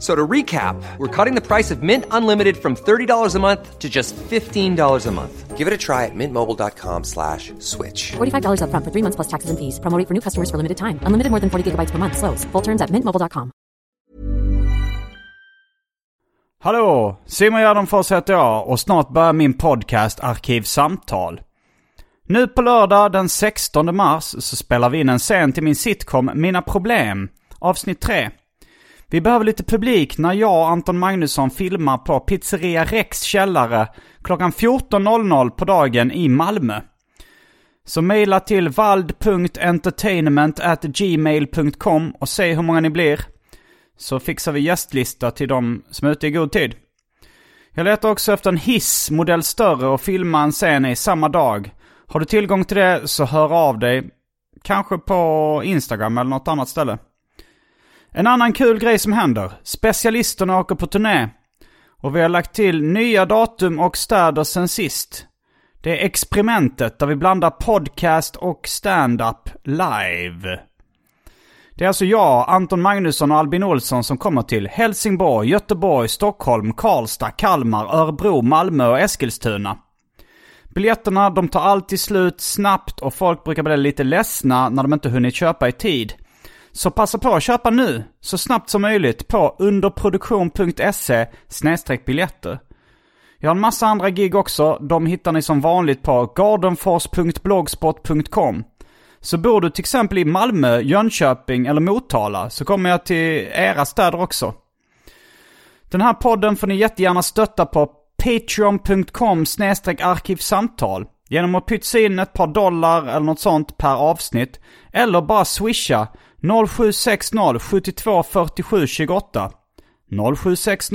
So to recap, we're cutting the price of Mint Unlimited from $30 a month to just $15 a month. Give it a try at mintmobile.com slash switch. $45 upfront for three months plus taxes and fees. Promo rate for new customers for limited time. Unlimited more than 40 gigabytes per month. Slows. Full terms at mintmobile.com. Hallå! Simon Gärdenfors heter jag och snart börjar min podcast Arkivsamtal. Nu på lördag den 16 mars så spelar vi in en scen till min sitcom Mina Problem, avsnitt 3. Vi behöver lite publik när jag och Anton Magnusson filmar på Pizzeria Rex källare klockan 14.00 på dagen i Malmö. Så mejla till vald.entertainment.gmail.com och säg hur många ni blir så fixar vi gästlista till de som är ute i god tid. Jag letar också efter en hiss, modell större och filma en scen i samma dag. Har du tillgång till det så hör av dig. Kanske på Instagram eller något annat ställe. En annan kul grej som händer. Specialisterna åker på turné. Och vi har lagt till nya datum och städer sen sist. Det är experimentet där vi blandar podcast och stand-up live. Det är alltså jag, Anton Magnusson och Albin Olsson som kommer till Helsingborg, Göteborg, Stockholm, Karlstad, Kalmar, Örebro, Malmö och Eskilstuna. Biljetterna de tar alltid slut snabbt och folk brukar bli lite ledsna när de inte hunnit köpa i tid. Så passa på att köpa nu, så snabbt som möjligt, på underproduktion.se biljetter. Jag har en massa andra gig också. De hittar ni som vanligt på gardenfors.blogspot.com. Så bor du till exempel i Malmö, Jönköping eller Motala så kommer jag till era städer också. Den här podden får ni jättegärna stötta på patreon.com arkivsamtal genom att pytsa in ett par dollar eller något sånt per avsnitt eller bara swisha 0760 72 47 28 0760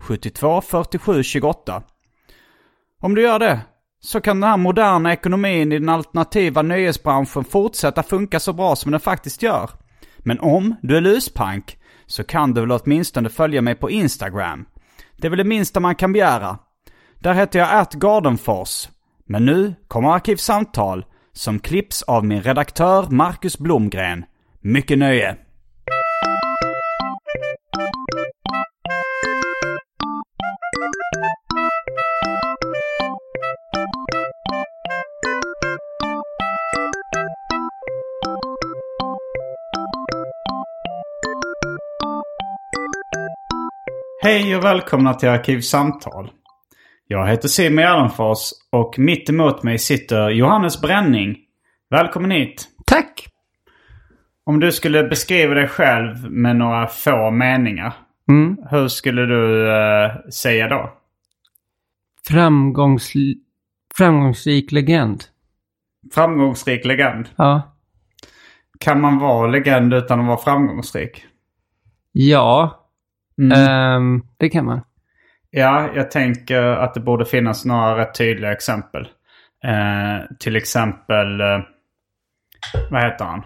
72 47 28 Om du gör det så kan den här moderna ekonomin i den alternativa nöjesbranschen fortsätta funka så bra som den faktiskt gör. Men om du är luspank så kan du väl åtminstone följa mig på Instagram. Det är väl det minsta man kan begära. Där heter jag atgardenfors. Men nu kommer Arkivsamtal som klipps av min redaktör Marcus Blomgren. Mycket nöje! Hej och välkomna till Arkivsamtal. Jag heter Simon Gärdenfors och mitt emot mig sitter Johannes Bränning. Välkommen hit! Tack! Om du skulle beskriva dig själv med några få meningar, Mm. hur skulle du eh, säga då? Framgångs... Framgångsrik legend. Framgångsrik legend. Ja. Kan man vara legend utan att vara framgångsrik? Ja, Mm. ehm, det kan man. Ja, jag tänker att det borde finnas några rätt tydliga exempel. Eh, till exempel, eh, vad heter han?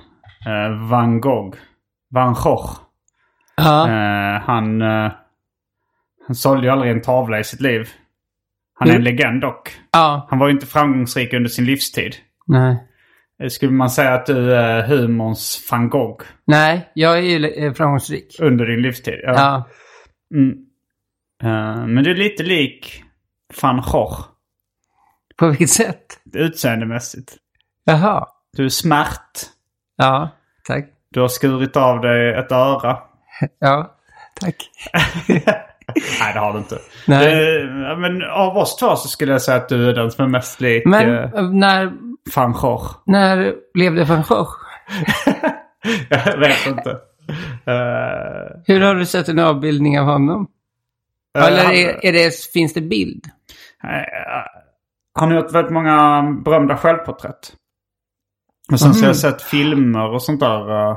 Eh, Van Gogh. Van Gogh. Ja, Eh, han, eh, han sålde ju aldrig en tavla i sitt liv. Han är en Mm. legend dock. ja. Han var ju inte framgångsrik under sin livstid. nej. Eh, Skulle man säga att du är humorns van Gogh Nej, jag är ju le- eh, framgångsrik. under din livstid? Ja. Ja, Mm. Eh, men du är lite lik van Gogh på vilket sätt? utseendemässigt. Jaha. Du är smärt. Ja, tack. Du har skurit av dig ett öra. Ja, tack. Nej, det har du inte. Nej. Du, ja, men av oss två så skulle jag säga att du är den som är mest lik Men eh, eh, när, van Gogh. när levde van Gogh? jag vet inte. Eh, Hur har du sett en avbildning av honom? Eller är, är det, finns det bild? Eh, Han har gjort väldigt många berömda Mhm. självporträtt. Och sen så har jag sett filmer och sånt där. eh,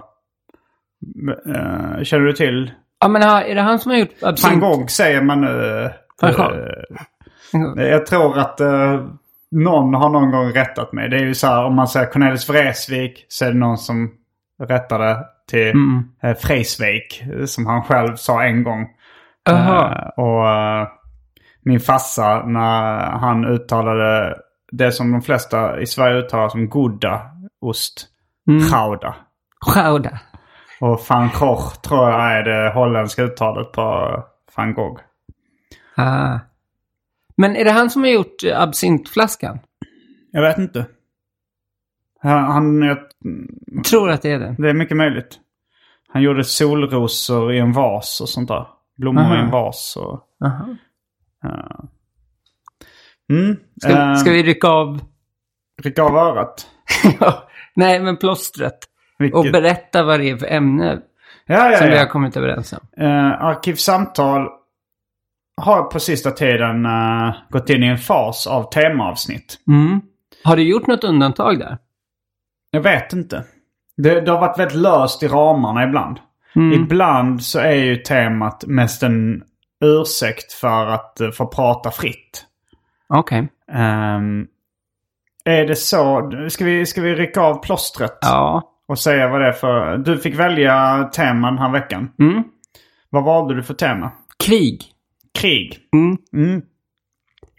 Eh, känner du till? Ja, men ha- är det han som har gjort Van Absint? Gogh säger man nu. Van Eh, Gogh. jag tror att eh, någon har någon gång rättat mig. Det är ju så här om man säger Cornelis Vreeswijk så är det någon som rättade till mm. Vreeswijk. eh, Som han själv sa en gång. Jaha. Eh, Och eh, min farsa när han uttalade det som de flesta i Sverige uttalar som goda ost. Mm. Chauda. Chauda. Och van Gogh tror jag är det holländska uttalet på van Gogh. Ah. Men är det han som har gjort eh, absintflaskan? Jag vet inte. Han, han, jag- Mm. Jag tror att det är det. det är mycket möjligt. Han gjorde solrosor i en vas och sånt där. Blommor i en Aha. vas och... Aha. ja. Mm. Ska, ska vi rycka av? Rycka av örat. Ja. Nej, men plåstret. Vilket... Och berätta vad det är för ämne ja, ja, som vi ja. har kommit överens om. Eh, Arkivsamtal har på sista tiden eh, gått in i en fas av temaavsnitt. Mm. Har du gjort något undantag där? Jag vet inte. Det, det har varit väldigt löst i ramarna ibland. Mm. Ibland så är ju temat mest en ursäkt för att eh, få prata fritt. Okej. Ehm, är det så? Ska vi, ska vi rycka av plåstret Ja. och säga vad det är för... Du fick välja tema den här veckan. Mm. Vad valde du för tema? Krig. Krig. Mm. Mm.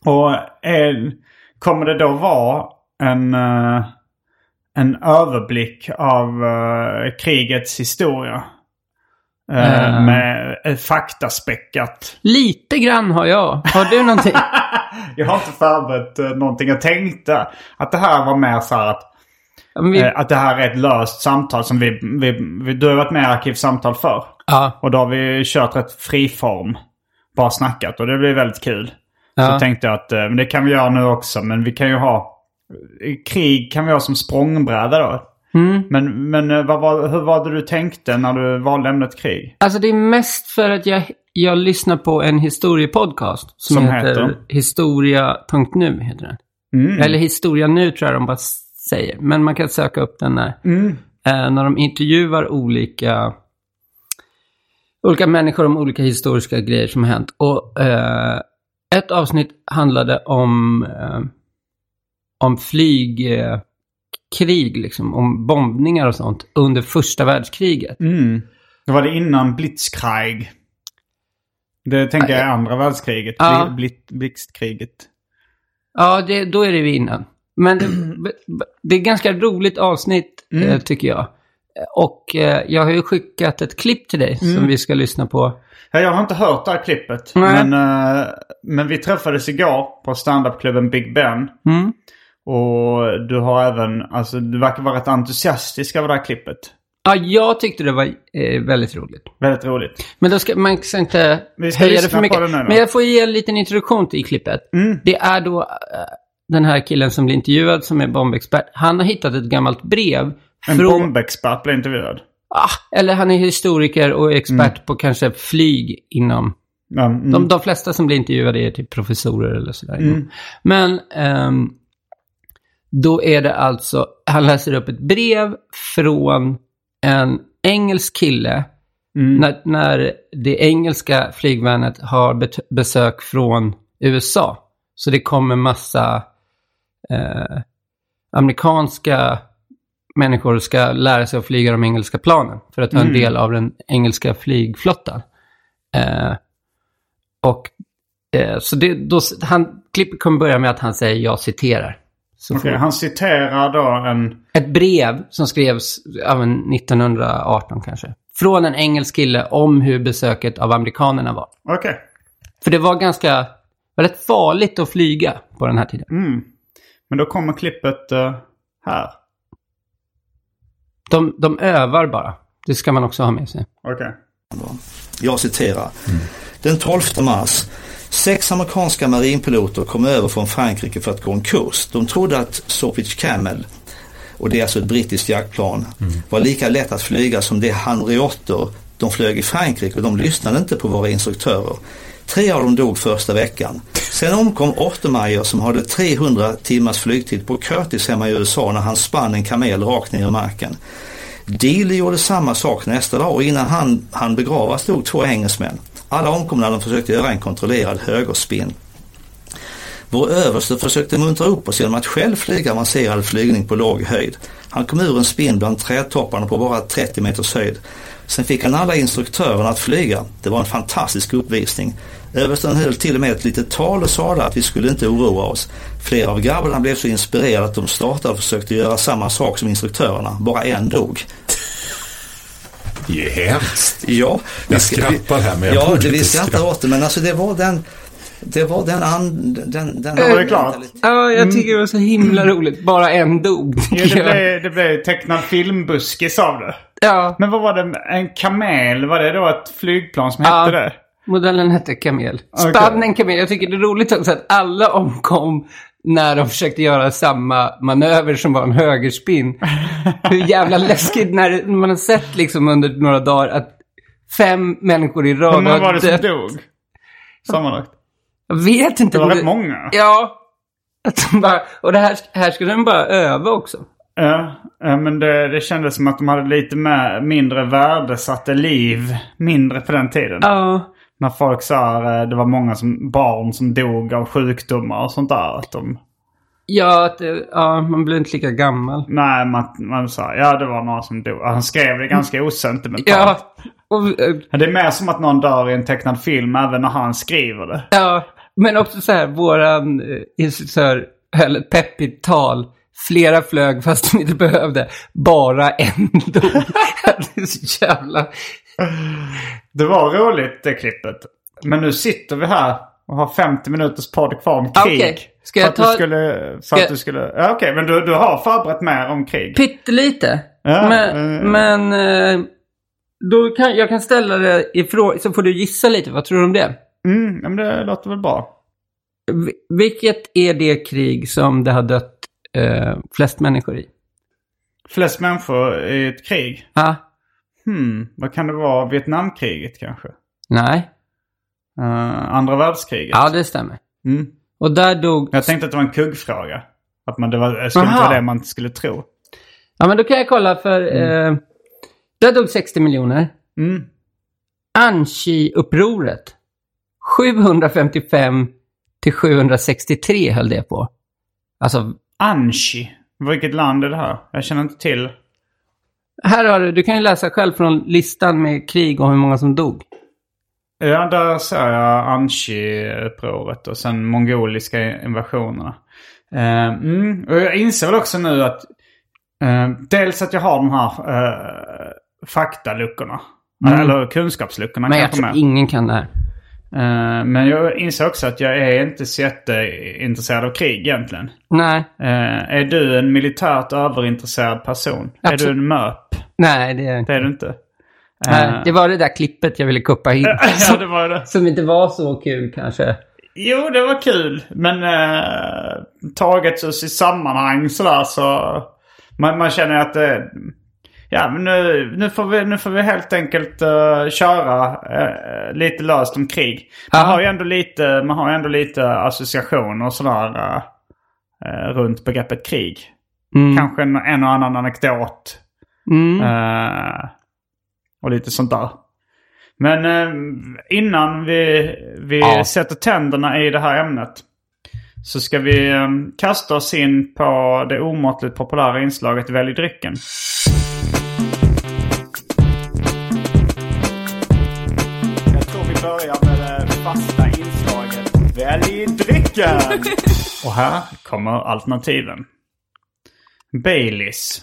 Och är, kommer det då vara en, eh, en överblick av eh, krigets historia? Eh, Eh. Med eh, faktaspäckat. Lite grann har jag. Har du någonting? Jag har inte förberett eh, någonting. Jag tänkte att det här var mer så här att, Ja, men vi... eh, att det här är ett löst samtal som vi, vi, vi... Du har varit med i Arkivsamtal förr. ja. Och då har vi kört rätt fri form. Bara snackat och det blir väldigt kul. Så Ja. tänkte jag att eh, men det kan vi göra nu också. Men vi kan ju ha... Krig kan vi ha som språngbräda då. Mm. Men, men eh, vad var, hur var det du tänkte när du valde ämnet krig? Alltså det är mest för att jag, jag lyssnar på en historiepodcast som, Som heter, heter? historia.nu. Heter den. Mm, Eller historia nu tror jag de bara säger. Men man kan söka upp den där. mm. Eh, när de intervjuar olika, olika människor om olika historiska grejer som har hänt. Och eh, ett avsnitt handlade om, eh, om flygkrig, eh, krig liksom, om bombningar och sånt under första världskriget. Det var det innan Blitzkrieg. Det tänker jag är andra världskriget. Ja. Bli, blit, blixtkriget. Ja, det, då är det vi innan. Men det, Mm. b- b- det är ett ganska roligt avsnitt eh, tycker jag. Eh, Och eh, jag har ju skickat ett klipp till dig Mm. som vi ska lyssna på. Ja, jag har inte hört det här klippet. Nej. Men, eh, men vi träffades igår på standupklubben Big Ben. Mm. Och du har även, alltså du verkar vara rätt entusiastisk över det här klippet. Ja, jag tyckte det var eh, väldigt roligt. Väldigt roligt. Men då ska man ska inte Vi ska höja det lyssna för mycket. på den här då. Mm. Men jag får ge en liten introduktion till klippet. Det är då eh, den här killen som blir intervjuad som är bombexpert. Han har hittat ett gammalt brev. En från- bombexpert blev intervjuad. ah, eller han är historiker och expert Mm. på kanske flyg inom Ja, mm. De, de flesta som blir intervjuade är typ professorer eller sådär. Men ehm, då är det alltså, han läser upp ett brev från en engelsk kille när, när det engelska flygvärnet har bet- besök från USA. Så det kommer massa eh, amerikanska människor ska lära sig att flyga de engelska planen för att vara en Mm. del av den engelska flygflottan. Eh, och eh, så det, då, han, klippet kommer börja med att han säger jag citerar. Så Okej, får- han citerar då en... Ett brev som skrevs av en 1918 kanske. Från en engelsk kille om hur besöket av amerikanerna var. Okej. För det var ganska, var rätt farligt att flyga på den här tiden. Mm. Men då kommer klippet eh, här. De, de övar bara. Det ska man också ha med sig. Okej. Jag citerar. Den 12 mars. Sex amerikanska marinpiloter kom över från Frankrike för att gå en kurs. De trodde att Sopwith Camel, och det är alltså ett brittiskt jaktplan, var lika lätt att flyga som de handrioter de flög i Frankrike och de lyssnade inte på våra instruktörer. Tre av dem dog första veckan. Sen omkom Ottermeyer som hade 300 timmars flygtid på Curtis hemma i USA när han spann en kamel rakt ner i marken. Dealey gjorde samma sak nästa dag och innan han hann begravas dog två engelsmän. Alla omkom när de försökte göra en kontrollerad högerspin. Vår överste försökte muntra upp oss genom att själv flyga avancerad flygning på låg höjd. Han kom ur en spin bland trädtopparna på bara 30 meters höjd. Sen fick han alla instruktörerna att flyga. Det var en fantastisk uppvisning. Översten höll till och med ett litet tal och sade att vi skulle inte oroa oss. Flera av grabbarna blev så inspirerade att de startade och försökte göra samma sak som instruktörerna. Bara en dog. Det är hemskt. Ja, Jag vi ska- skrattar här, men jag ja, borde det, vi inte skrattar skratta. åt det men alltså det var den det var den and, den, den Var det klart? Ja, jag tycker det var så himla roligt. Bara en dog. Mm. Ja, det, blev, det blev tecknad filmbuskis av det. Ja, Men vad var det? En kamel? Var det då ett flygplan som hette Ja. det? modellen hette Kamel. Okej. Spannen Kamel. Jag tycker det är roligt också att alla omkom när de försökte göra samma manöver som var en högerspinn. Hur jävla läskigt när det- när man har sett liksom under några dagar att fem människor i Hur rad många var det som dött. dog? Sammanlagt. Jag vet inte. Det var men rätt många. Ja. Att de bara, och det här, här skulle den bara öva också. Ja, ja, men det, det kändes som att de hade lite mer, mindre värdesatte liv mindre på den tiden. Ja. När folk sa eh, det var många som, barn som dog av sjukdomar och sånt där. Att de, Ja, att, det- ja, man blir inte lika gammal. nej, man, man sa ja det var några som dog. Han skrev det ganska osentimentalt. Ja. Och, eh, Det är mer som att någon dör i en tecknad film även när han skriver det. ja. Men också så här, våran eh, instruktör höll ett peppigt tal. Flera flög fast de inte behövde. Bara en dog. det är så jävla... Det var roligt det klippet. Men nu sitter vi här och har 50 minuters podd kvar om Ah, krig. okej. Ska för jag att ta- Du skulle, för jag- att du skulle... Ja, Okej, men du, du har förberett mer om krig. Pyttelite. Ja, men eh. men eh, då kan, jag kan ställa det ifrån, så får du gissa lite. Vad tror du om det? Mm, ja, men det låter väl bra. Vi- Vilket är det krig som det har dött eh, flest människor i? Flest människor i ett krig. Ah, Hmm, vad kan det vara? Vietnamkriget kanske? nej. Eh, andra världskriget? Ja, det stämmer. Mm. Och där dog... Jag tänkte att det var en kuggfråga. Att man, det var, det skulle inte Aha. vara det man skulle tro. Ja, men då kan jag kolla för... Eh, där dog 60 miljoner. Mm. Anchi-upproret. 755 till 763 höll det på. Alltså, Anchi. Vilket land är det här? Jag känner inte till. här har du... Du kan ju läsa själv från listan med krig och hur många som dog. Ja, där såg jag Anchi-upproret och sen mongoliska invasionerna. Eh, mm. Och jag inser väl också nu att eh, dels att jag har de här eh, faktaluckorna. Eh, Eller kunskapsluckorna Mm. Men jag kanske tror mer. ingen kan det här. Eh, men jag inser också att jag är inte så jätteintresserad av krig egentligen. Nej, Eh, är du en militärt överintresserad person? Är Absolut. du en MÖP? nej, det, Det är du inte. Eh. nej, det var det där klippet jag ville kuppa in. ja, det var det. Som inte var så kul kanske. Jo, det var kul. Men eh, taget ur sitt sammanhang sådär så... Man, man känner att eh, Ja, men nu, nu, får vi, nu får vi helt enkelt eh, köra eh, lite löst om krig. Man Ja. har ju ändå lite, man har ju ändå lite associationer och sådär eh, eh, runt begreppet krig. Kanske en, en och annan anekdot. Mm. Eh, och lite sånt där. Men eh, innan vi, vi Ja. sätter tänderna i det här ämnet så ska vi eh, kasta oss in på det omåttligt populära inslaget Välj drycken. Jag tror vi börjar med det fasta inslaget Välj drycken! och här kommer alternativen. Baileys.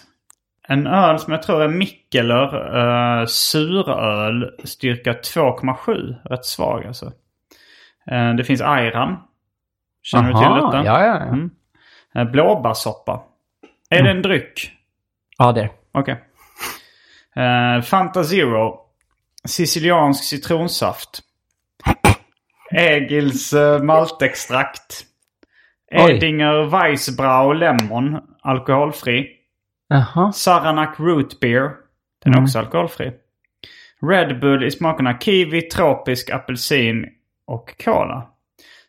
En öl som jag tror är Mikkeler uh, suröl styrka 2,7. Rätt svag alltså. Eh, det finns Ayran. Känner du till detta? Ja, ja, Mm. ja. Mm. Eh, Blåbärssoppa. Är det en dryck? ja det är det. Okej. Eh, Fanta Zero. Siciliansk citronsaft. Egils eh, maltextrakt. Oj. Edinger Weissbrau Lemon. Alkoholfri. Jaha. Saranac Root Beer. Den är också alkoholfri. Red Bull i smakerna kiwi, tropisk, apelsin och cola.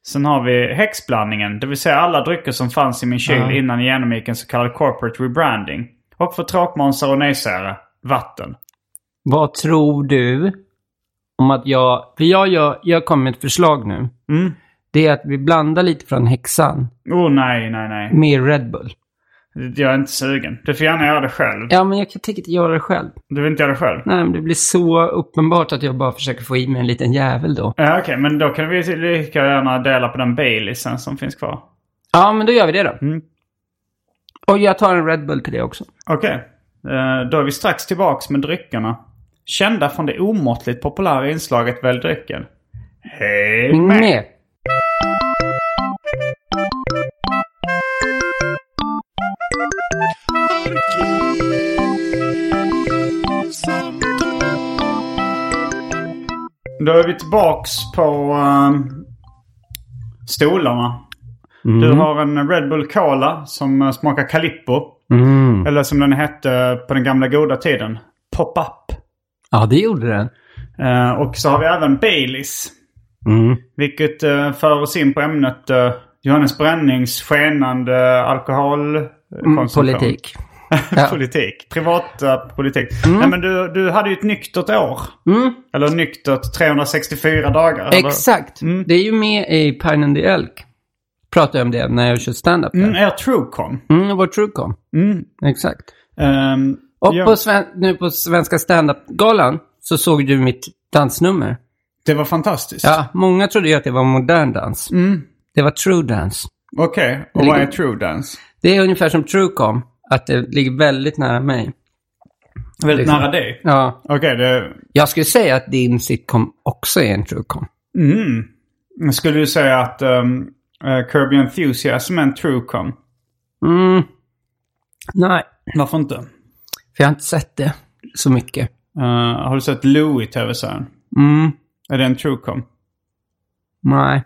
Sen har vi häxblandningen, det vill säga alla drycker som fanns i min kyl innan jag genomgick en så kallad corporate rebranding. Och för tråkmånsar och nejsägare, vatten. Vad tror du om att jag... För jag, jag, jag kommer med ett förslag nu. Mm. Det är att vi blandar lite från häxan Oh nej, nej, nej. med Red Bull. Jag är inte sugen. Du får gärna göra det själv. Ja, men jag kan- tänker inte göra det själv. Du vill inte göra det själv? Nej, men det blir så uppenbart att jag bara försöker få i mig en liten jävel då. Ja, Okej, men då kan vi lika gärna dela på den Baileysen som finns kvar. Ja, men då gör vi det då. Mm. Och jag tar en Red Bull till det också. Okej. Eh, Då är vi strax tillbaks med dryckerna. Kända från det omåttligt populära inslaget Välj drycken. Hej med! Med. Då är vi tillbaks på ehm, stolarna. Du har en Red Bull Cola som eh, smakar Calippo. Mm. Eller som den hette på den gamla goda tiden. Pop-up. Ja, det gjorde den. Eh, och så har vi även Baileys. Vilket eh, för oss in på ämnet eh, Johannes Brännings skenande alkoholkonsumtion. Mm, Politik. Ja. Mm. politik. Privat eh, politik. Nej, men du, du hade ju ett nyktert år. Eller nyktert 364 dagar. eller? Exakt. Mm. Det är ju med i Pine and the Elk. Pratar jag om det när jag kör stand-up. där. Mm, er Truecom. Mm, vår Truecom. Mm. Exakt. Ehm, Och ja, på sven- nu på Svenska standup-galan så såg du mitt dansnummer. Det var fantastiskt. Ja, Mm. många trodde ju att det var modern dans. Det var true dance. Okej, och vad är ligger- True Dance? Det är ungefär som Truecom, att det ligger väldigt nära mig. Väldigt Liksom. nära dig. Ja, Okej, det... jag skulle säga att din sitcom också är en Truecom. Mm. Skulle du säga att um, uh, Kirby Enthusiasm är en Truecom? Mm. Nej, Varför inte? för jag har inte sett det så mycket. Eh, har du sett Louie tv-serien? Mm. Är det en Truecom? Nej.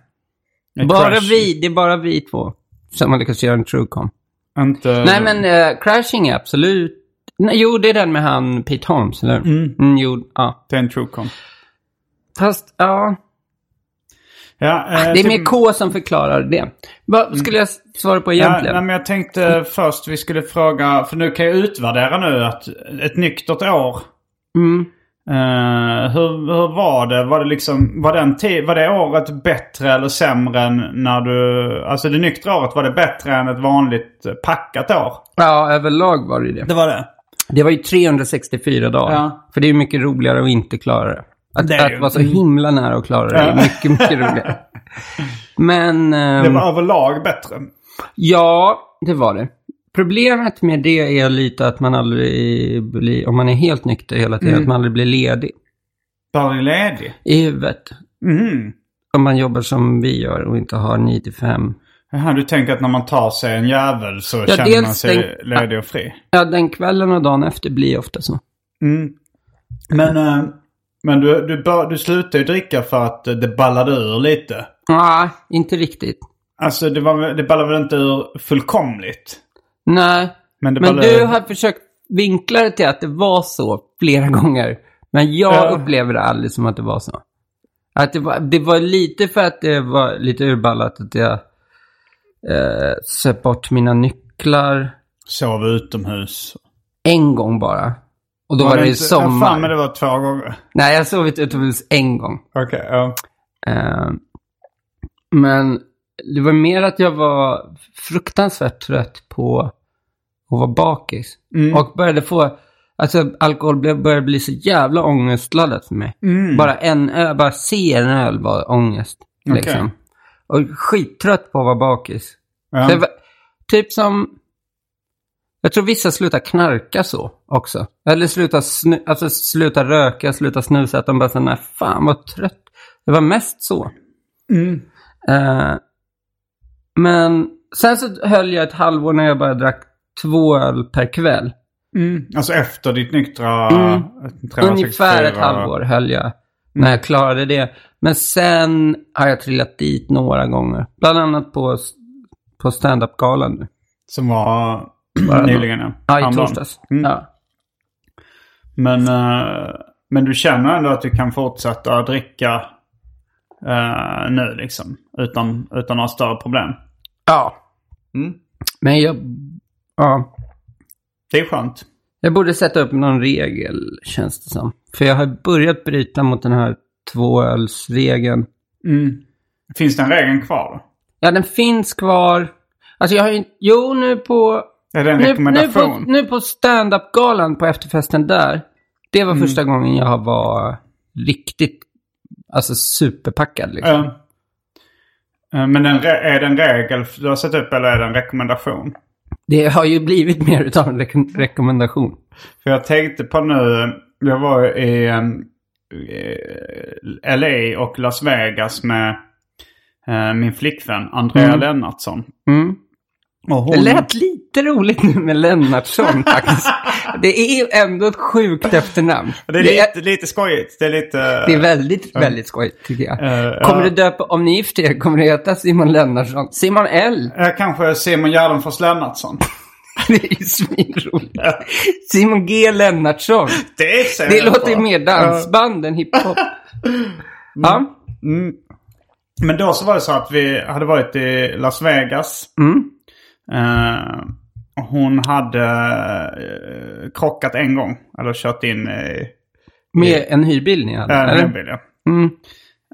En Bara Crash? vi, det är bara vi två som har lyckats göra en Truecom. Inte... Nej men eh, Crashing är absolut... Nej, jo, det är den med han Pete Holmes, eller hur? Mm. jo, ja. Det är en Truecom. Fast, ja. Ja, eh, Det är till- mer K som förklarar det. Vad skulle jag s- svara på Mm. Ja, egentligen? nej, men jag tänkte först vi skulle fråga, för nu kan jag utvärdera nu att ett nyktert år. Mm. Eh, hur, hur var det? Var det, liksom, var, den ti- var det året bättre eller sämre än när du... Alltså det nyktra året, var det bättre än ett vanligt eh, packat år? Ja, överlag var det ju det. var det. Det var ju 364 dagar. Ja. För det är ju mycket roligare att inte klara det. Att, Det är det ju. Mm. att vara så himla nära att klara det är mycket, mycket roligare. Men... ehm, Det var överlag bättre. Ja, det var det. Problemet med det är lite att man aldrig blir, om man är helt nykter hela tiden, Mm. att man aldrig blir ledig Var det ledig? i huvudet. Mm. Om man jobbar som vi gör och inte har 9 till 5. Jaha, du tänker att när man tar sig en jävel så känner dels man sig tänk- ledig och fri? Ja, den kvällen och dagen efter blir ofta så. Mm. Men, eh, men du, du, bör, du slutade ju dricka för att eh, det ballade ur lite. Nej, inte riktigt. Alltså det, var, väl- det ballade väl inte ur fullkomligt? Nej, Men det men ballade du ur. har försökt vinkla det till att det var så flera gånger. Men jag Ja. upplever det aldrig som att det var så. Att det var, det var lite för att det var lite urballat att jag eh, söp bort mina nycklar Sov utomhus. en gång bara. Och då var, det ju inte- Ja, sommar. fan, men det var två gånger. Nej, jag har sovit utomhus en gång. Okej, ja. Eh, men det var mer att jag var fruktansvärt trött på att vara bakis. Och började få, alltså alkohol blev, började bli så jävla ångestladdat för mig. Bara en öl, bara se en öl var ångest. Okej. Liksom. Och skittrött på att vara bakis. Ja. Det var, typ som, jag tror vissa slutar knarka så också. Eller slutar, snu, alltså slutar röka, slutar snusa. Att de bara såhär, nej fan vad trött. Det var mest så. Mm. Eh, men sen så höll jag ett halvår när jag bara drack två öl per kväll. Mm. Alltså efter ditt nyktra... Mm. 364. Ungefär ett halvår höll jag när jag klarade det. Men sen har jag trillat dit några gånger. Bland annat på, på stand-up-galan nu. Som var Bara nyligen, ja. Ja, i Häromdagen. torsdags. Mm. Ja. Men, eh, men du känner ändå att du kan fortsätta dricka eh, nu liksom? Utan, utan några större problem? Ja. Mm. Men jag... Ja. Det är skönt. Jag borde sätta upp någon regel, känns det som. För jag har börjat bryta mot den här tvåölsregeln. Finns den regeln kvar då? Ja, den finns kvar. Alltså jag har inte... Jo, nu på... Är det en Nu, nu på, rekommendation? nu på stand-up-galan på efterfesten där. Det var Mm. första gången jag var riktigt... Alltså superpackad liksom. Ja. Eh, Men den, re- är det en regel du har satt upp eller är det en rekommendation? Det har ju blivit mer utav en rek- rekommendation. För jag tänkte på nu, jag var i ehm, eh, LA och Las Vegas med eh, min flickvän Andrea Lennartsson. Mm. Och hon, Det lät lite roligt nu med Lennartsson faktiskt. Det är ju ändå ett sjukt efternamn. det är lite, lite skojigt. Det är lite... det är väldigt, väldigt skojigt tycker jag. Eh, kommer ja. du döpa, om ni gifter er, kommer du heta Simon Lennartsson? Simon L? Eh, kanske Simon Gärdenfors Lennartsson. Det är ju svinroligt. Simon G Lennartsson. Det ser Det jag låter ju på. mer dansband än hiphop. Mm. Ja. Men då så var det så att vi hade varit i Las Vegas. Mm. Eh, och hon hade eh, krockat en gång. Eller kört in i Med en hyrbil ni hade? en eller? hembil. Ja. Mm.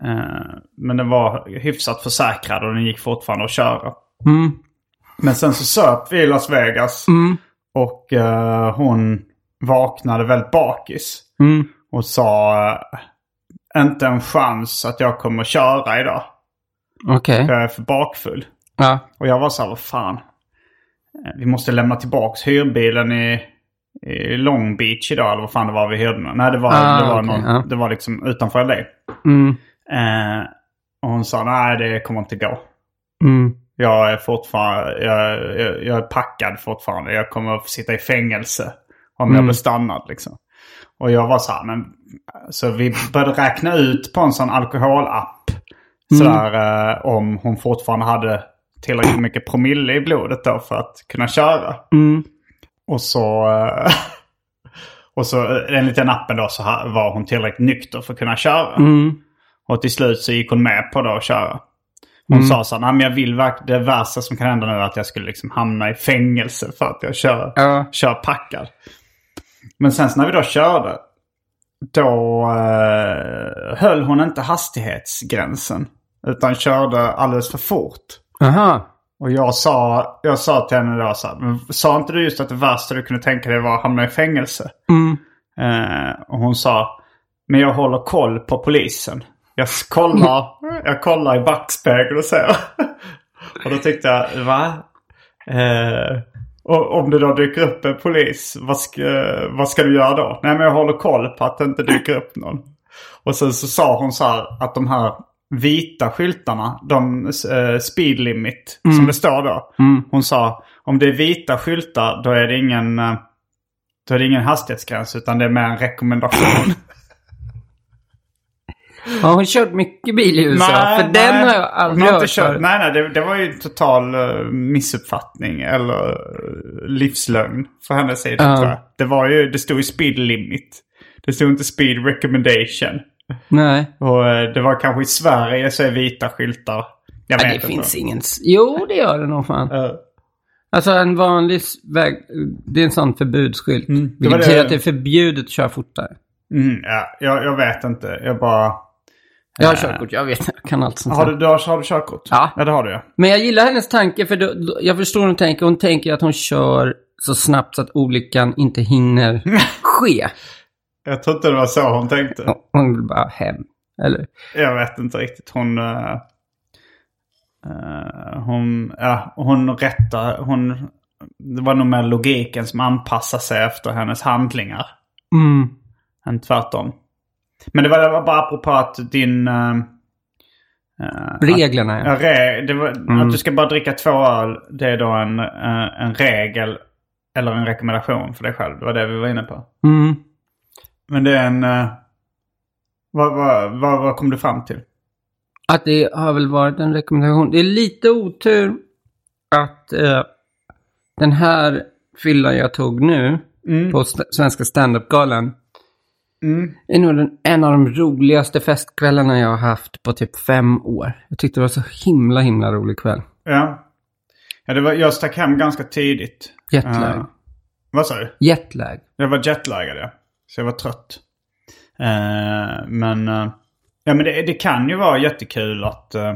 Eh, men den var hyfsat försäkrad och den gick fortfarande att köra. Mm. Men sen så söp vi i Las Vegas. Och eh, hon vaknade väldigt bakis. Mm. Och sa eh, inte en chans att jag kommer köra idag. Okej. Jag är för bakfull. Ja. Och jag var så här, vad fan. Eh, Vi måste lämna tillbaks hyrbilen i, i Long Beach idag. Eller vad fan det var vi hyrde den. Nej, det var, Ah, det var, okej, någon, ja. det var liksom utanför LA. Mm. Eh, och hon sa, nej det kommer inte gå. Mm. Jag är fortfarande, jag, jag, jag är packad fortfarande. Jag kommer att sitta i fängelse om jag blir stannad liksom. Och jag var så här, men... Så vi började räkna ut på en sån alkoholapp. Sådär eh, om hon fortfarande hade tillräckligt mycket promille i blodet då för att kunna köra. Mm. Och så... eh, och så eh, enligt den appen då så ha- var hon tillräckligt nykter för att kunna köra. Mm. Och till slut så gick hon med på det och köra. Hon Mm. sa så här, nej men jag vill verk- det värsta som kan hända nu är att jag skulle liksom hamna i fängelse för att jag kör, Ja. kör packad. Men sen så när vi då körde, då eh, höll hon inte hastighetsgränsen. Utan körde alldeles för fort. Aha. Och jag sa, jag sa till henne då så här, "Men sa inte du just att det värsta du kunde tänka dig var att hamna i fängelse? Mm. Eh, och hon sa, men jag håller koll på polisen. Jag s- kollar, jag kollar i backspegeln och ser. och då tyckte jag, va? Eh, och om det då dyker upp en polis, vad ska, vad ska du göra då? Nej men jag håller koll på att det inte dyker upp någon. Och sen så sa hon så här att de här vita skyltarna, de eh, speed limit Mm. som det står då. Hon sa, om det är vita skyltar då är det ingen... eh, då är det ingen hastighetsgräns utan det är mer en rekommendation. Har hon kört mycket bil i USA? För den har jag aldrig Hon har inte hört kört, förut. Nej, nej, det, det var ju en total eh, missuppfattning eller eh, livslögn från hennes sida Ja. tror jag. Det var ju, det stod ju speed limit. Det stod inte speed recommendation. Nej. Och eh, det var kanske i Sverige så är vita skyltar. Jag vet Ja, det inte. finns ingen... s- Jo, det gör det nog fan. Eh, Alltså en vanlig s- väg... Det är en sån förbudsskylt. Mm. det var Vilket betyder det- att det är förbjudet att köra fortare. mm, ja, jag, jag vet inte. Jag bara... Jag har körkort, jag vet. Eh, Jag kan allt sånt Har här. du, du, har, har du körkort? Ja. Ja, det har du ja. Men jag gillar hennes tanke, för då, då, jag förstår hur hon tänker. Hon tänker att hon kör så snabbt så att olyckan inte hinner ske. Jag tror inte det var så hon tänkte. Hon- Hon vill bara hem. Eller? Jag vet inte riktigt. Hon... eh, eh, hon, ja, hon rättar... Hon, det var nog mer logiken som anpassade sig efter hennes handlingar. Mm. Än tvärtom. Men det var, det var bara apropå att din... eh, eh, Reglerna, ja, ja. re, det var, Att du ska bara dricka två öl, det är då en, eh, en regel eller en rekommendation för dig själv. Det var det vi var inne på. Mm. Men det är en... eh, vad, vad, vad, vad kom du fram till? Att det har väl varit en rekommendation. Det är lite otur att eh, den här fyllan jag tog nu på st- Svenska standup-galan Mm. är nog den, en av de roligaste festkvällarna jag har haft på typ fem år. Jag tyckte det var så himla, himla rolig kväll. Ja. ja det var, jag stack hem ganska tidigt. Jetlag. Eh, Vad sa du? Jetlag. Jag var jetlaggad ja. Så jag var trött. Eh, men eh, ja, men det, det kan ju vara jättekul att... eh,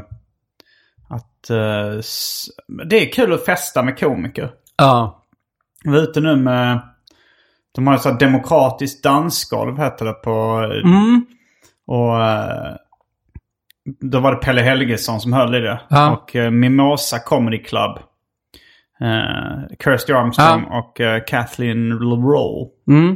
att eh, s- det är kul att festa med komiker. Ja. Jag var ute nu med... De har ett sånt här demokratiskt dansgolv heter det på... Mm. Och eh, då var det Pelle Helgesson som höll i det. Ja. Och eh, Mimosa Comedy Club. Eh, Kirsty Armstrong och eh, Kathleen LaRoe. Mm.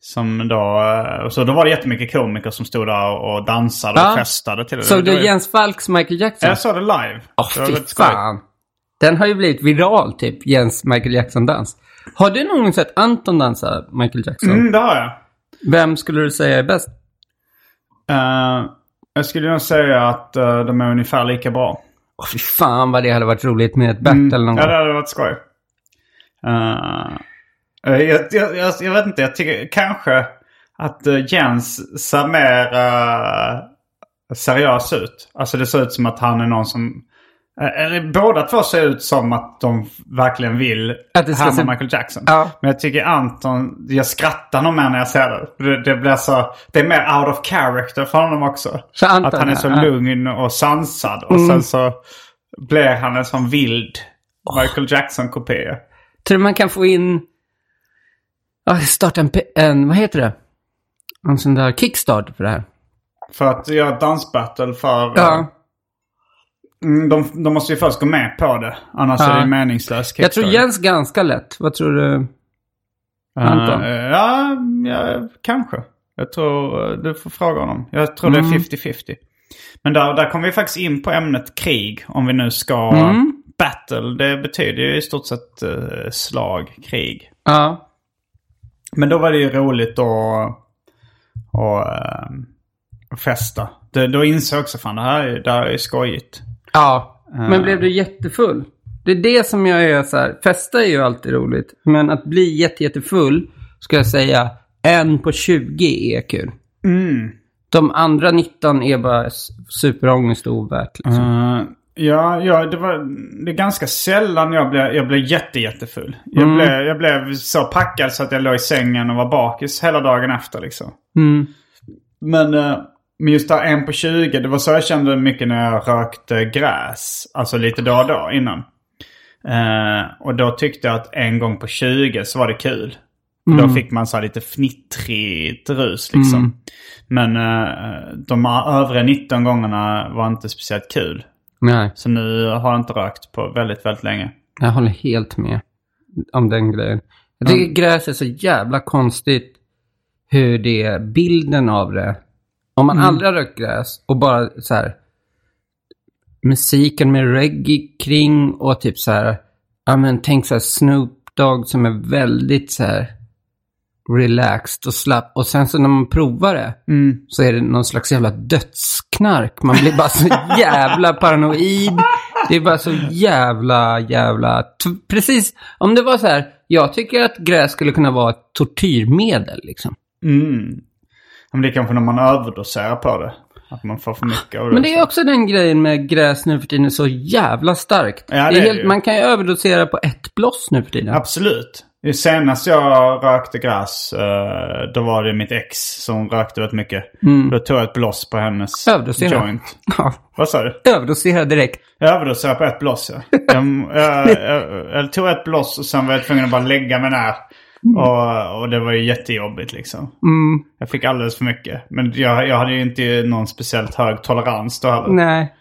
Som då, eh, och så då var det jättemycket komiker som stod där och dansade Ja. och festade till det. Såg Det var du ju- Jens Falks Michael Jackson? Jag såg det live. Åh, Det var fy väldigt skoj. fan. Den har ju blivit viral, typ, Jens Michael Jackson-dans. Har du någon gång sett Anton dansa Michael Jackson? Mm, det har jag. Vem skulle du säga är bäst? Eh, jag skulle nog säga att eh, de är ungefär lika bra. Åh, fy fan vad det hade varit roligt med ett battle någon Mm. Ja, gång. det hade varit skoj. Eh, eh, jag, jag, jag, jag vet inte, jag tycker kanske att eh, Jens ser mer eh, seriös ut. Alltså det ser ut som att han är någon som... eh, Eller båda två ser ut som att de verkligen vill Att det ska härma se- Michael Jackson. Ja. Men jag tycker Anton, jag skrattar nog mer när jag ser det. Det, det blir så, det är mer out of character för honom också. Så Anton, att han är så ja. lugn och sansad. Och Mm. sen så blir han en sån vild Oh. Michael Jackson-kopia. Tror du man kan få in... Ja, starta en, pe- en... Vad heter det? En sån där kickstart för det här. För att göra ett dansbattle för... eh, Ja. mm, De, de måste ju först gå med på det. Annars Ja. är det meningslöst. Jag tror Jens ganska lätt. Vad tror du? Anton? Eh, ja, ja, kanske. Jag tror... eh, Du får fråga honom. Jag tror Mm. det är 50-50. Men där, där kommer vi faktiskt in på ämnet krig. Om vi nu ska... Mm. Battle, det betyder ju i stort sett eh, slag, krig. Ja. Men då var det ju roligt att, att, eh, festa. Det, då insåg jag också fan det här är, det här är skojigt. Ja. Men blev du jättefull? Det är det som jag är så här. Festa är ju alltid roligt. Men att bli jätte, jättefull ska jag säga en på 20 är kul. Mm. De andra 19 är bara s- superångest och ovärt. Liksom. Eh, ja, ja det, var, det är ganska sällan jag blev, jag blev jätte, jättefull. Jag, blev, jag blev så packad så att jag låg i sängen och var bakis hela dagen efter liksom. Mm. Men, eh, men just där en på 20, det var så jag kände mycket när jag rökte gräs. Alltså lite då och då innan. Eh, och då tyckte jag att en gång på 20 så var det kul. Då fick man så här lite fnittrigt rus liksom. Men eh, de övriga 19 gångerna var inte speciellt kul. Nej, Så nu har jag inte rökt på väldigt, väldigt länge. jag håller helt med om den grejen. Jag tycker gräs är så jävla konstigt hur det är, bilden av det. Om man aldrig har rökt gräs och bara så här musiken med reggae kring och typ så här, ja men tänk så här Snoop Dogg som är väldigt så här relaxed och slapp och sen så när man provar det Mm. så är det någon slags jävla dödsknark. Man blir bara så jävla paranoid. Det är bara så jävla, jävla... T- precis, om det var så här, jag tycker att gräs skulle kunna vara ett tortyrmedel liksom. Mm. Men det är kanske när man överdoserar på det. Att man får för mycket av det. Men det är också den grejen med gräs nu för tiden är så jävla starkt. Ja, det är det helt, ju. man kan ju överdosera på ett bloss nu för tiden. Absolut. Senast jag rökte gräs, eh, då var det mitt ex som rökte väldigt mycket. Mm. Då tog jag ett bloss på hennes Överdosera. joint. Ja, Vad sa du? överdosera direkt. Jag överdoserade på ett bloss, ja. jag, jag, jag, jag tog ett bloss och sen var jag tvungen att bara lägga mig ner. Mm. Och, och det var ju jättejobbigt liksom. Jag fick alldeles för mycket. Men jag, jag hade ju inte någon speciellt hög tolerans då heller. Nej.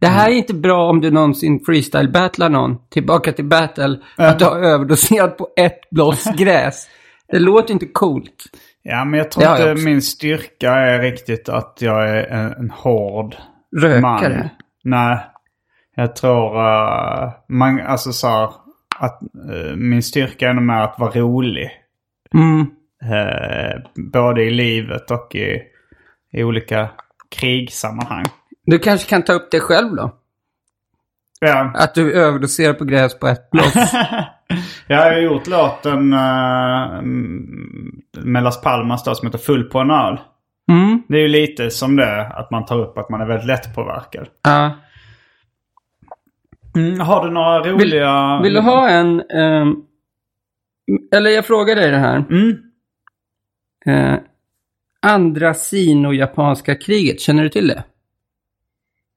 Det här är inte bra om du någonsin freestyle-battlar någon. Tillbaka till battle. Att du har överdoserat på ett bloss gräs. Det låter inte coolt. Ja, men jag tror Det har jag inte också. min styrka är riktigt att jag är en, en hård Rökare. man. Nej. Jag tror eh, man, alltså så här, att eh, min styrka är nog mer att vara rolig. Mm. Eh, både i livet och i, i olika krigssammanhang. Du kanske kan ta upp det själv då? Ja, Att du överdoserar på gräs på ett bloss. jag har ju gjort låten eh, mm, med Las Palmas då som heter Full på en öl. Mm. Det är ju lite som det att man tar upp att man är väldigt lättpåverkad. Ja. Mm, har du några roliga... Vill du ha en ehm, Eller jag frågar dig det här. Mm. Eh, andra sino-japanska kriget, känner du till det?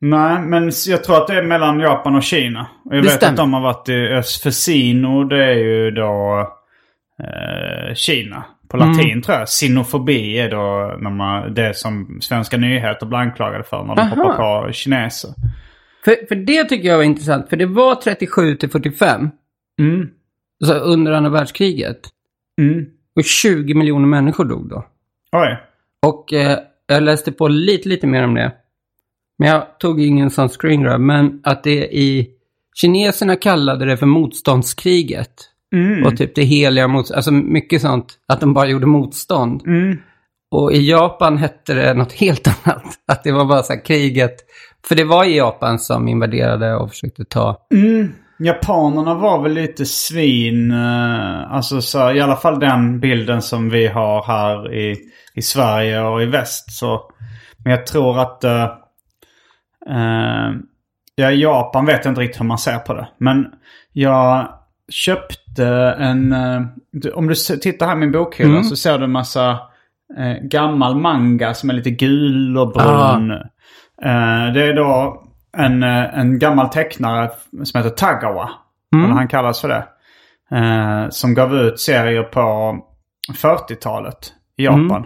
Nej, men s- jag tror att det är mellan Japan och Kina. Och jag Det vet stämmer. att de har varit i öst. För sino, det är ju då eh, Kina. På Mm. latin tror jag. Sinofobi är då när man, det som svenska nyheter blir anklagade för när de Aha. hoppar på kineser. För, för det tycker jag var intressant, för det var 37 till 45. Mm. Alltså under andra världskriget. Mm. Och 20 miljoner människor dog då. Oj. Och eh, jag läste på lite, lite mer om det. Men jag tog ingen sån screen grab, men att det i... Kineserna kallade det för motståndskriget. Mm. Och typ det heliga mot, Alltså mycket sånt. Att de bara gjorde motstånd. Mm. Och i Japan hette det något helt annat. Att det var bara så här kriget. För det var i Japan som invaderade och försökte ta... Japanerna var väl lite svin. eh, Alltså så, i alla fall den bilden som vi har här i, i Sverige och i väst. Så, men jag tror att... eh, eh, ja, i Japan vet jag inte riktigt hur man ser på det. Men jag köpte en... eh, du- om du s- tittar här i min bokhylla så ser du en massa eh, gammal manga som är lite gul och brun. Eh, det är då en, eh, en gammal tecknare som heter Tagawa. Eller han kallas för det. Eh, som gav ut serier på 40-talet i Japan.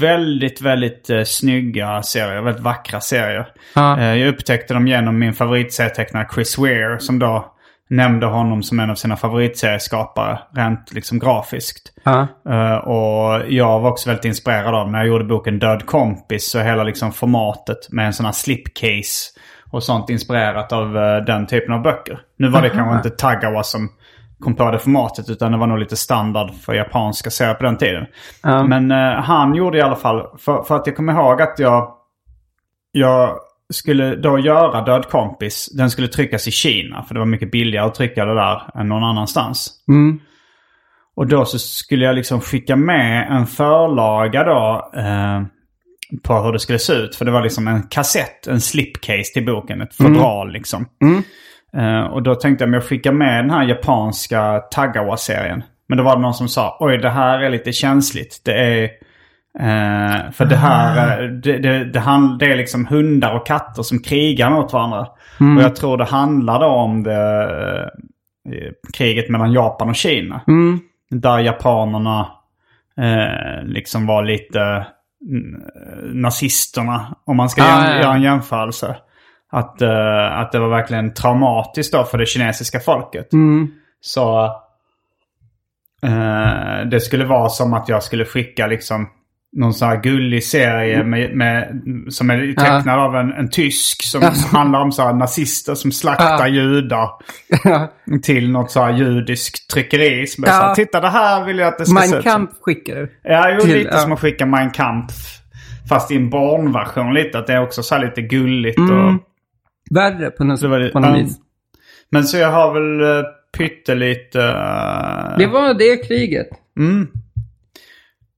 Väldigt, väldigt eh, snygga serier. Väldigt vackra serier. Ja. Eh, jag upptäckte dem genom min favoritserietecknare Chris Weir. Som då nämnde honom som en av sina favoritserieskapare. Rent liksom grafiskt. Ja. Eh, och jag var också väldigt inspirerad av när jag gjorde boken Död kompis så hela liksom formatet med en sån här slipcase och sånt inspirerat av eh, den typen av böcker. Nu var det kanske inte Tagawa som kom på det formatet utan det var nog lite standard för japanska serier på den tiden. Men eh, han gjorde i alla fall, för, för att jag kommer ihåg att jag, jag skulle då göra Död kompis. Den skulle tryckas i Kina för det var mycket billigare att trycka det där än någon annanstans. Mm. Och då så skulle jag liksom skicka med en förlaga då eh, på hur det skulle se ut. För det var liksom en kassett, en slipcase till boken, ett fodral liksom. Eh, och då tänkte jag, men jag skickar med den här japanska Tagawa-serien. Men då var det någon som sa, oj det här är lite känsligt. Det är... Eh, för det här, eh, det, det, det, hand, det är liksom hundar och katter som krigar mot varandra. Mm. Och jag tror det handlar då om det, eh, kriget mellan Japan och Kina. Mm. Där japanerna eh, liksom var lite mm, nazisterna, om man ska Ah, jäm- ja, ja. göra en jämförelse. Att, eh, att det var verkligen traumatiskt då för det kinesiska folket. Mm. Så eh, det skulle vara som att jag skulle skicka liksom någon sån här gullig serie Mm. med, med, som är tecknad av en, en tysk som handlar om så här nazister som slaktar judar till något så här judiskt tryckeri. Som är så här, Ja. Titta det här vill jag att det ska se Mein ut som. Kampf skickade du. Ja, jo, till- lite ja. som att skicka Mein Kampf. Fast i en barnversion lite. Att det är också så här lite gulligt. Och, Mm. Värre på något, Så var det- på något ja. vis. men så jag har väl eh, pyttelite... eh, Det var det kriget. Mm.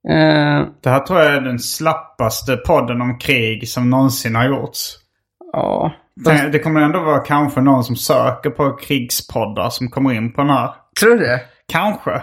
Eh, Det här tror jag är den slappaste podden om krig som någonsin har gjorts. ja. Tänk- Det kommer ändå vara kanske någon som söker på krigspoddar som kommer in på den här. Tror du det? Kanske.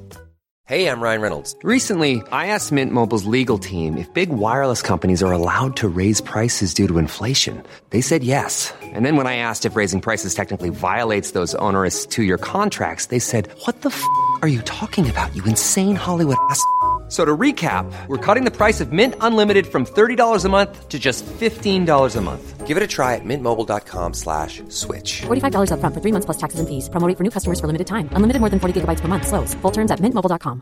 Hey, I'm Ryan Reynolds. Recently, I asked Mint Mobile's legal team if big wireless companies are allowed to raise prices due to inflation. They said yes. And then when I asked if raising prices technically violates those onerous two year contracts, they said, What the f are you talking about, you insane Hollywood ass? f- So to recap, we're cutting the price of Mint Unlimited from $30 a month to just $15 a month. Give it a try at mintmobile.com slash switch. $45 upfront for three months plus taxes and fees. Promo rate for new customers for limited time. Unlimited more than 40 gigabytes per month. Slows. Full terms at mintmobile.com.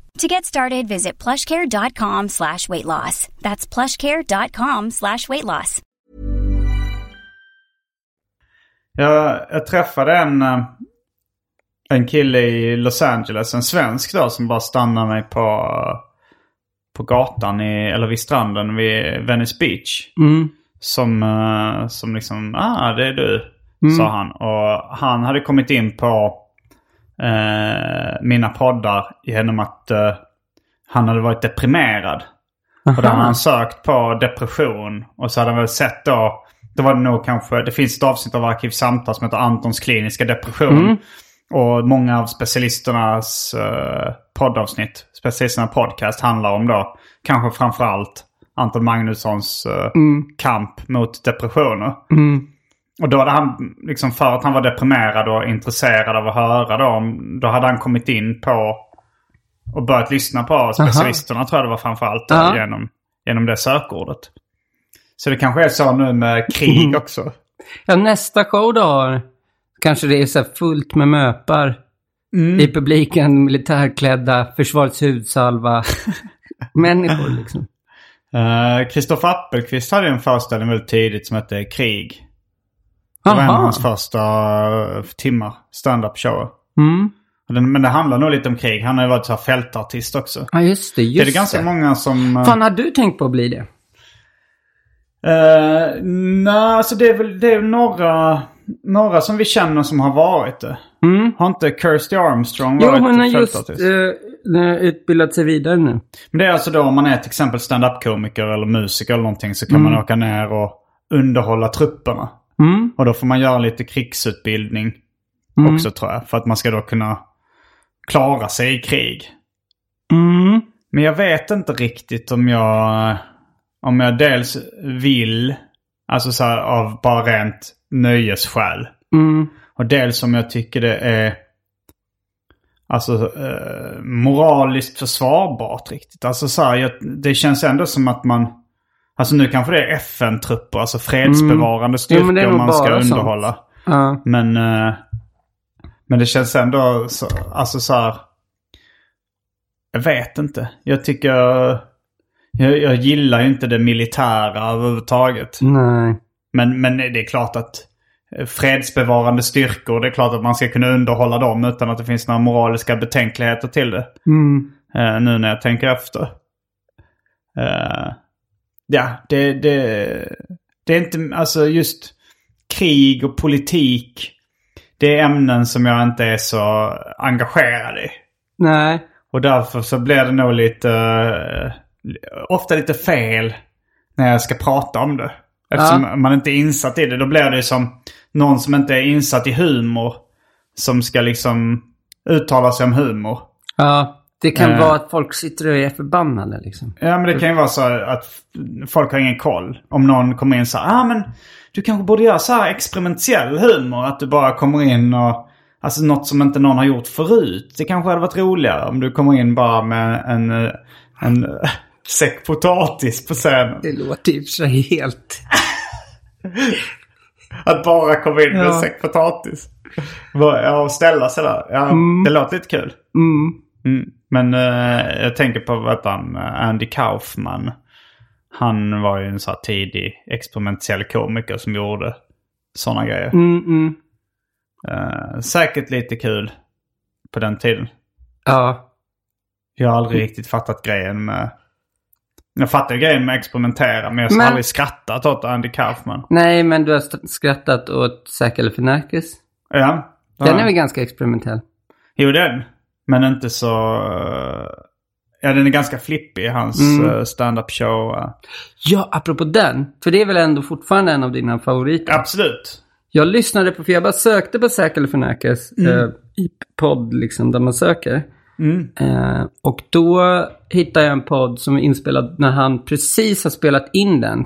To get started, visit plushcare.com slash weight loss. That's plushcare.com slash weight loss. Jag, jag träffade en, eh, en kille i Los Angeles, en svensk då, som bara stannade mig på, på gatan, i, eller vid stranden vid Venice Beach. Mm. Som, eh, som liksom, ah det är du, sa han. Och han hade kommit in på eh, mina poddar genom att eh, han hade varit deprimerad. Och då hade han sökt på depression. Och så hade han väl sett då, då var det nog kanske, det finns ett avsnitt av Arkivsamtal som heter Antons kliniska depression. Och många av specialisternas eh, poddavsnitt, specialisterna podcast handlar om då, kanske framförallt Anton Magnussons eh, kamp mot depressioner. Och då hade han, liksom för att han var deprimerad och intresserad av att höra då, om- då hade han kommit in på och börjat lyssna på specialisterna tror jag det var framförallt då, Ja. genom, genom det sökordet. Så det kanske är så nu med krig också. Ja, nästa show då har- kanske det är så här fullt med möpar Mm. i publiken, militärklädda, försvarets hudsalva, människor liksom. Eh, Kristoffer Appelqvist hade ju en föreställning väldigt tidigt som hette Krig. Det var en av Jaha. hans första eh, timmar stand-up show. Mm. Men det handlar nog lite om krig. Han har ju varit så här fältartist också. Ja, just det. Just det är det ganska många som... eh, Fan, har du tänkt på att bli det? Uh, Nej, alltså det är väl det är väl några, några som vi känner som har varit det. Har inte Kirsty Armstrong Mm. Jo, varit hon har just fältartist? eh, utbildat sig vidare nu. Men det är alltså då om man är till exempel stand-up-komiker eller musiker eller någonting så kan man åka ner och underhålla trupperna. Mm. Och då får man göra lite krigsutbildning också tror jag. För att man ska då kunna klara sig i krig. Mm. Men jag vet inte riktigt om jag, om jag dels vill, alltså så här, av bara rent nöjesskäl. Mm. Och dels om jag tycker det är alltså eh, moraliskt försvarbart riktigt. Alltså så här, jag, det känns ändå som att man, alltså nu kanske det är FN-trupper, alltså fredsbevarande Mm. Jo, men styrkor det är nog man ska bara sånt. underhålla. Ja. Men, eh, men det känns ändå så, alltså så här. Jag vet inte. Jag tycker... Jag, jag gillar ju inte det militära överhuvudtaget. nej. Men, men det är klart att eh, fredsbevarande styrkor, det är klart att man ska kunna underhålla dem utan att det finns några moraliska betänkligheter till det. Mm. Eh, nu när jag tänker efter. Eh, ja, det, det, det är inte, alltså just krig och politik. Det är ämnen som jag inte är så engagerad i. Nej. Och därför så blir det nog lite, eh, ofta lite fel när jag ska prata om det. Eftersom man inte är insatt i det. Då blir det ju som någon som inte är insatt i humor. Som ska liksom uttala sig om humor. Ja, det kan Eh. vara att folk sitter och är förbannade liksom. Ja men det kan ju vara så att folk har ingen koll. Om någon kommer in så här, ah men du kanske borde göra så här experimentell humor. Att du bara kommer in och, alltså något som inte någon har gjort förut. Det kanske hade varit roligare om du kommer in bara med en, eh, en eh, säck potatis på scenen. Det låter i och för sig helt... Att bara komma in med en Ja. säck potatis. Vad- Ja, och ställa sig där. Ja, Det låter lite kul. Mm. Men eh, jag tänker på vad han, eh, Andy Kaufman. Han var ju en så här tidig experimentell komiker som gjorde sådana grejer. Mm, mm. Eh, säkert lite kul på den tiden. Ja. Jag har Mm. aldrig riktigt fattat grejen med... Jag fattar ju grejen med att experimentera men jag har Men- aldrig skrattat åt Andy Kaufman. Nej, men du har st- skrattat åt Zack eller Förnärkes. Ja. Den Ja. är väl ganska experimentell? Jo, den. Men inte så... eh, Ja, den är ganska flippig, hans Mm. mm. stand-up show. eh. Ja, apropå den. För det är väl ändå fortfarande en av dina favoriter? Absolut. Jag lyssnade på, för jag bara sökte på Säker eller Förnekes eh, i podd liksom, där man söker. Eh, och då hittade jag en podd som är inspelad när han precis har spelat in den.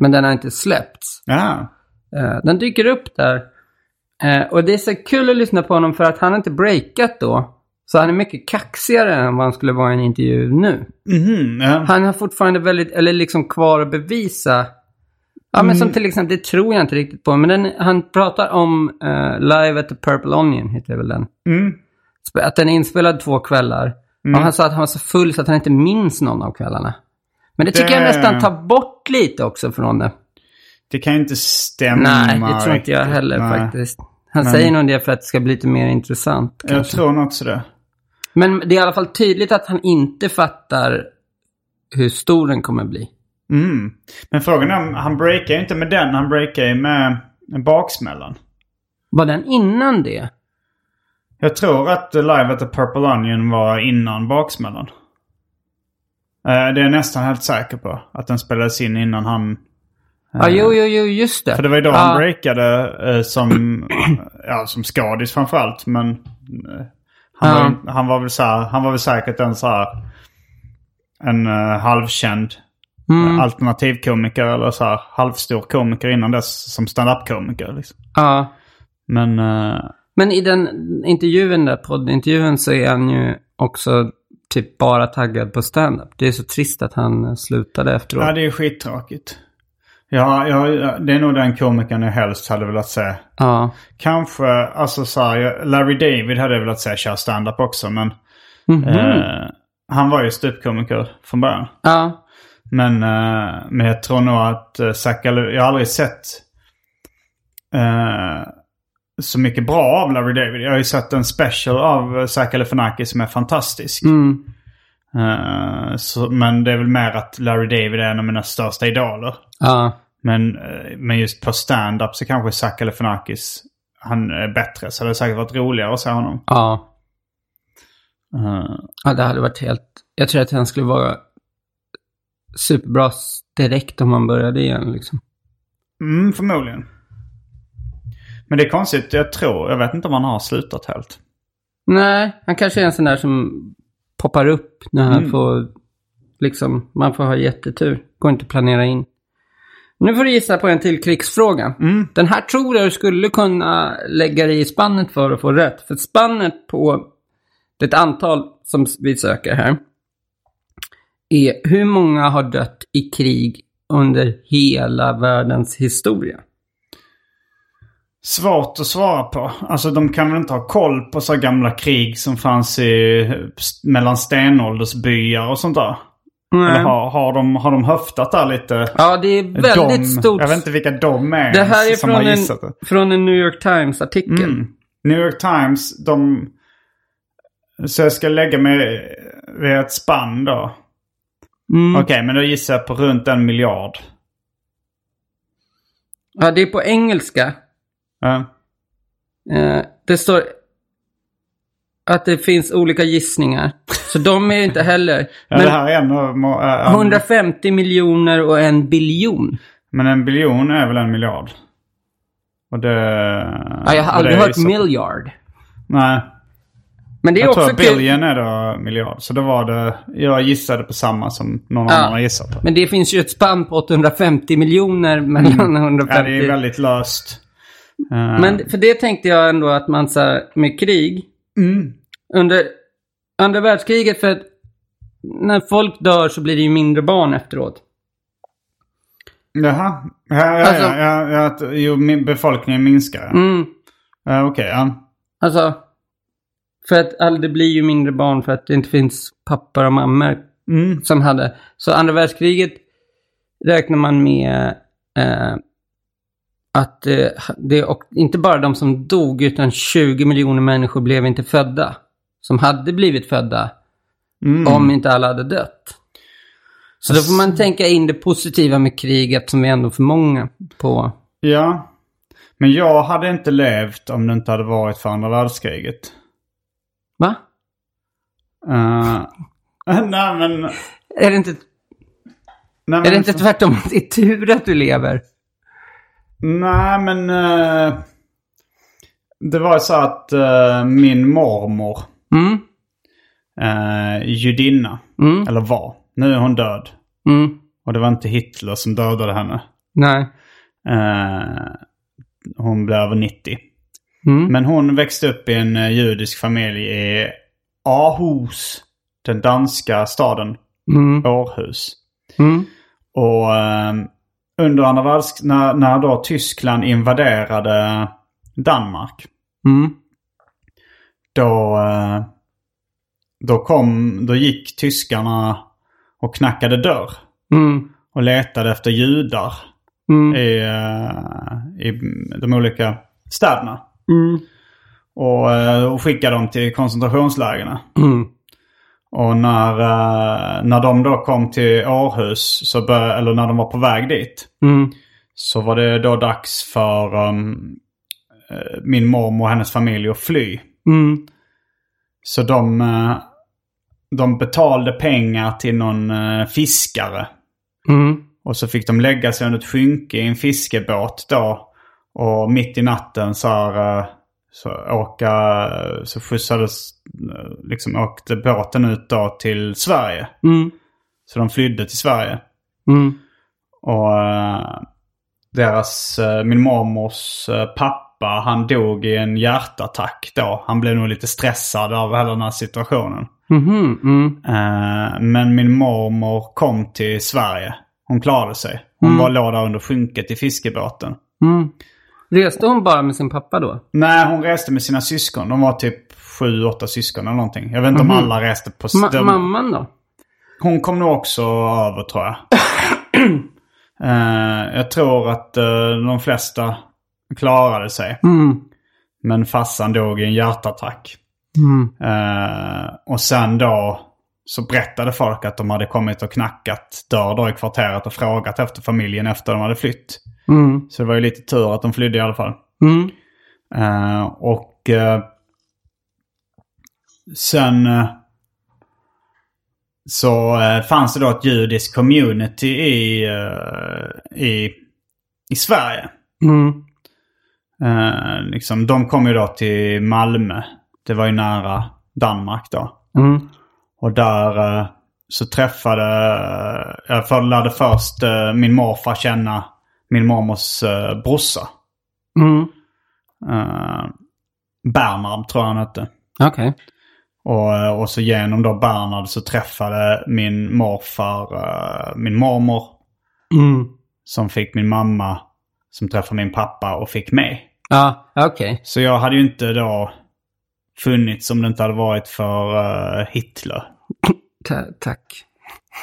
Men den har inte släppts. Ja. Eh, den dyker upp där. Eh, och det är så kul att lyssna på honom för att han har inte breakat då. Så han är mycket kaxigare än vad han skulle vara i en intervju nu. Mhm, ja. Han har fortfarande väldigt, eller liksom kvar att bevisa. Ja, men som till exempel, det tror jag inte riktigt på, men den, han pratar om eh, Live at the Purple Onion, heter väl den. Mm. Sp- Att den är inspelad två kvällar Och han sa att han var så full så att han inte minns någon av kvällarna. Men det tycker Det- jag nästan tar bort lite också från det. Det kan ju inte stämma. Nej, det tror inte jag riktigt. heller Nej. faktiskt. Han säger nog det för att det ska bli lite mer intressant. Jag tror nog också det. Men det är i alla fall tydligt att han inte fattar hur stor den kommer bli. Mm. Men frågan är om han breakar ju inte med den. Han breakar ju med baksmällan. Var den innan det? Jag tror att Live at the Purple Onion var innan baksmällan. Eh, Det är jag nästan helt säker på. Att den spelades in innan han... Ja, jo, jo, jo, just det. För det var ju då ja, han breakade eh, som, ja, som skadis framförallt. Men eh, han, Ja. var, ju- han, var väl så här, han var väl säkert en så här, en eh, halvkänd mm. alternativkomiker eller så här, halvstor komiker innan dess som standup-komiker. Liksom. Ja. Men eh, Men i den intervjun där, poddintervjun, så är han ju också typ bara taggad på stand-up. Det är så trist att han slutade efteråt. ja, det är skittråkigt. Ja, ja, ja, det är nog den komikern jag helst hade velat se. Ja. Kanske, alltså så här, jag- Larry David hade jag velat se köra stand-up också men eh, han var ju ståuppkomiker från början. ja. Men, eh, men jag tror nog att eh, Zach Galli- jag har aldrig sett eh, så mycket bra av Larry David. Jag har ju sett en special av eh, Zach Galifianakis som är fantastisk. Mm. Eh, så, men det är väl mer att Larry David är en av mina största idoler. ja. Men, eh, men just på stand-up så kanske Zach Galifianakis, han är bättre. Så det hade säkert varit roligare att se honom. Ja. Eh, Ja, det hade varit helt... Jag tror att han skulle vara superbra s- direkt om han började igen. Liksom. Mm, förmodligen. Men det är konstigt, jag tror, jag vet inte om han har slutat helt. Nej, han kanske är en sån där som poppar upp när han Mm. får... Liksom, man får ha jättetur. Går inte att planera in. Nu får du gissa på en till krigsfråga. Mm. Den här tror jag du skulle kunna lägga dig i spannet för att få rätt. För spannet på det antal som vi söker här är hur många har dött i krig under hela världens historia? Svårt att svara på. Alltså de kan väl inte ha koll på så gamla krig som fanns i, mellan stenåldersbyar och sånt där? Eller har, har, de, har de höftat där lite? Ja, det är väldigt de, stort. Jag vet inte vilka de är Det här är som har från gissat en, det. Mm. från en New York Times-artikel. New York Times, de... Så jag ska lägga mig vid ett spann då. Mm. Okej, men då gissar jag på runt en miljard. Ja, det är på engelska. Ja. Eh, det står att det finns olika gissningar. Så de är inte heller. Ja, det Men här är en av... må- eh, en- 150 miljoner och en biljon. Men en biljon är väl en miljard? Och det... Ja, jag har och aldrig det är hört ju så- miljard. Nej. Men det är Jag tror också att billion är då miljard. Så då var det... Jag gissade på samma som någon annan har gissat på. Men det finns ju ett spann på 850 miljoner mellan Mm. Ja, det 150. är väldigt löst. Men för det tänkte jag ändå att man så här, med krig. Under andra världskriget, för att när folk dör så blir det ju mindre barn efteråt. Jaha. Ja, ja, ja, Alltså- ja, ja, att- jo, min- befolkningen minskar. Mm. Ja, Okej, ja. Alltså, för att all, det blir ju mindre barn för att det inte finns pappor och mammor Mm. som hade. Så andra världskriget räknar man med eh, att eh, det, och inte bara de som dog utan 20 miljoner människor blev inte födda. Som hade blivit födda Mm. om inte alla hade dött. Så då får man tänka in det positiva med kriget som vi ändå är för många på. Ja. Men jag hade inte levt om det inte hade varit för andra världskriget. Va? Eh, nej, men... Nej, Är det inte men Är det inte tvärtom? Det är tur att du lever. Nej, men... eh, det var så att eh, min mormor, Mm. eh, judinna, eller var. Nu är hon död. Mm. Och det var inte Hitler som dödade henne. Nej. Eh, hon blev över 90. Mm, Men hon växte upp i en eh, judisk familj i Aarhus, den danska staden Mm. Århus. Mm. Och eh, under andra världskriget, när, när då Tyskland invaderade Danmark, Mm. då, eh, Då kom, då gick tyskarna och knackade dörr Mm. och letade efter judar Mm. i, eh, i de olika städerna. Mm. Och, eh, och skickade dem till koncentrationslägren. Mm. Och när, eh, när de då kom till Århus, så bör, eller när de var på väg dit, Mm. så var det då dags för um, eh, min mormor och hennes familj att fly. Mm. Så de, eh, de betalade pengar till någon eh, fiskare. Mm. Och så fick de lägga sig under ett skynke i en fiskebåt då. Och mitt i natten så, här, eh, så, åka, så skjutsades, eh, liksom åkte båten ut då till Sverige. Mm. Så de flydde till Sverige. Mm. Och eh, deras, eh, min mormors eh, pappa, han dog i en hjärtattack då. Han blev nog lite stressad av hela den här situationen. Mhm. Mm. Eh, men min mormor kom till Sverige. Hon klarade sig. Hon var låg där under skynket i fiskebåten. Mm. Reste hon bara med sin pappa då? Nej, hon reste med sina syskon. De var typ sju, åtta syskon eller någonting. Jag vet inte om alla reste på... Ma- de- Mamman då? Hon kom nog också över tror jag. Eh, jag tror att eh, de flesta klarade sig. Mm. Men farsan dog i en hjärtattack. Mm. Eh, och sen då så berättade folk att de hade kommit och knackat dörr då i kvarteret och frågat efter familjen efter de hade flytt. Mm. Så det var ju lite tur att de flydde i alla fall. Mm. Eh, och eh, sen eh, så eh, fanns det då ett judiskt community i, eh, i, i Sverige. Mm. Eh, liksom, de kom ju då till Malmö. Det var ju nära Danmark då. Mm. Och där eh, så träffade, eh, jag för- lärde först eh, min morfar känna min mormors eh, brorsa. Mm. Eh, Bernhard tror jag han hette. Okej. Och, och så genom då Bernhard så träffade min morfar eh, min mormor Mm. som fick min mamma som träffade min pappa och fick mig. Ja, okej. Så jag hade ju inte då funnits om det inte hade varit för eh, Hitler. Ta- tack.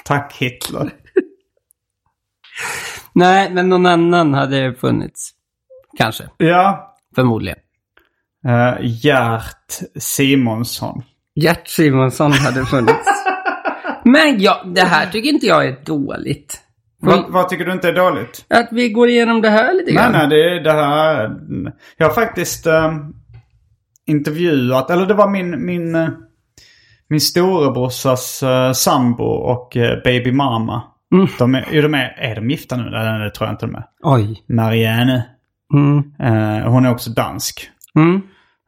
Tack Hitler. Nej, men någon annan hade funnits. Kanske. Ja. Förmodligen. Eh, Gert Simonsson. Gert Simonsson hade funnits. men ja, det här tycker inte jag är dåligt. Vad, vad tycker du inte är dåligt? Att vi går igenom det här lite Nej, grann. nej, det, det här... mm, Jag har faktiskt eh, intervjuat, eller det var min, min, eh, min storebrorsas eh, sambo och eh, baby mama. Mm. De är, jo, de är, är de gifta nu? Nej, det tror jag inte de är. Oj. Marianne. Mm. Eh, hon är också dansk. Mm.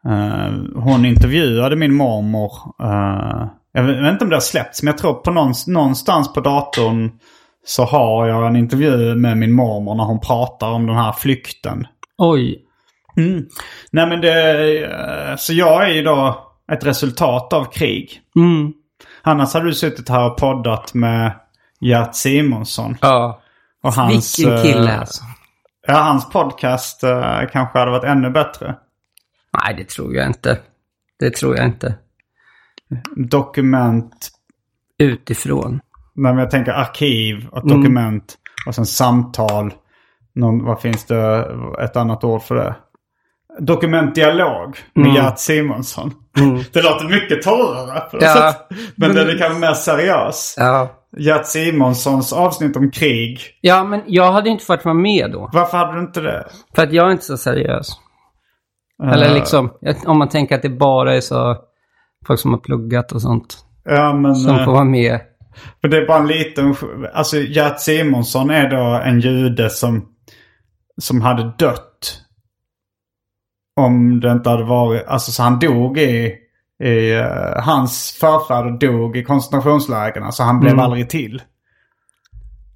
Eh, hon intervjuade min mormor. eh, jag vet jag vet inte om det har släppts, men jag tror på någonstans, någonstans på datorn så har jag en intervju med min mormor när hon pratar om den här flykten. Oj. Mm. Nej men det, eh, så jag är ju då ett resultat av krig. Mm. Annars hade du suttit här och poddat med Gert Simonsson. Ja. Och hans, Vilken kille eh, alltså. Ja, hans podcast eh, kanske hade varit ännu bättre. Nej, det tror jag inte. Det tror jag inte. Dokument, Utifrån. nej men jag tänker arkiv och Mm. dokument och sen samtal. Någon, vad finns det, ett annat ord för det? Dokumentdialog med Mm. Gert Simonsson. Det låter mycket torrare på något Ja. sätt. Men den är kanske mer seriös. Ja. Gert Simonssons avsnitt om krig. Ja, men jag hade inte fått vara med då. Varför hade du inte det? Eh, För att jag är inte så seriös. Eller liksom, jag- om man tänker att det bara är så folk som har pluggat och sånt Ja, men, som får eh, vara med. men det är bara en liten... Alltså Gert Simonsson är då en jude som, som hade dött. Om det inte hade varit... Alltså så han dog i... i eh, hans förfäder dog i koncentrationslägren. Så han blev aldrig till.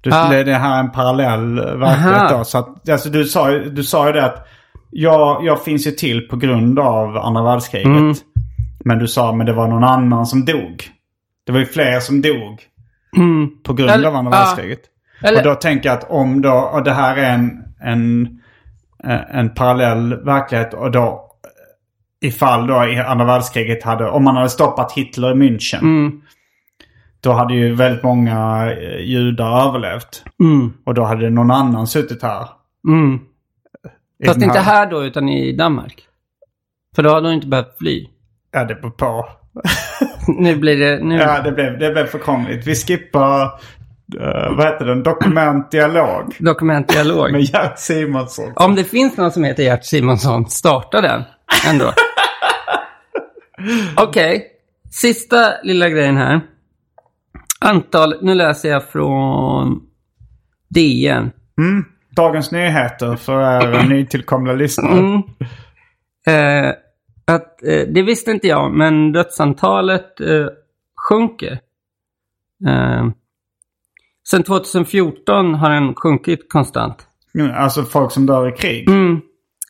Du, Mm. Ah. Det det här är en parallell eh, verklighet Aha. då. Så att, alltså, du, sa, ju- du sa ju det att jag, jag finns ju till på grund av andra världskriget. Mm. Men du sa men det var någon annan som dog. Det var ju fler som dog på grund Eller- av andra ja. världskriget. Eller- Och då tänker jag att om då, och det här är en, en, eh, en parallell verklighet och då ifall då i andra världskriget hade, om man hade stoppat Hitler i München. Mm. Då hade ju väldigt många eh, judar överlevt. Och då hade någon annan suttit här. Mm. I Fast den inte här då, utan i Danmark. För då hade hon inte behövt fly. Ja, det beror på. Mm. Nu blir det... Nu... Ja, det blev, det blev för krångligt. Vi skippar, eh, vad heter den, dokumentdialog Dokumentdialog. med Gert Simonsson. Om det finns någon som heter Gert Simonsson, starta den ändå. Okej, sista lilla grejen här. Antal, nu läser jag från DN. Dagens Nyheter för er nytillkomna lyssnare. Mm. Eh, att, eh, det visste inte jag, men dödsantalet eh, sjunker. Eh, sen 2014 har den sjunkit konstant. Mm, Alltså folk som dör i krig. Mm.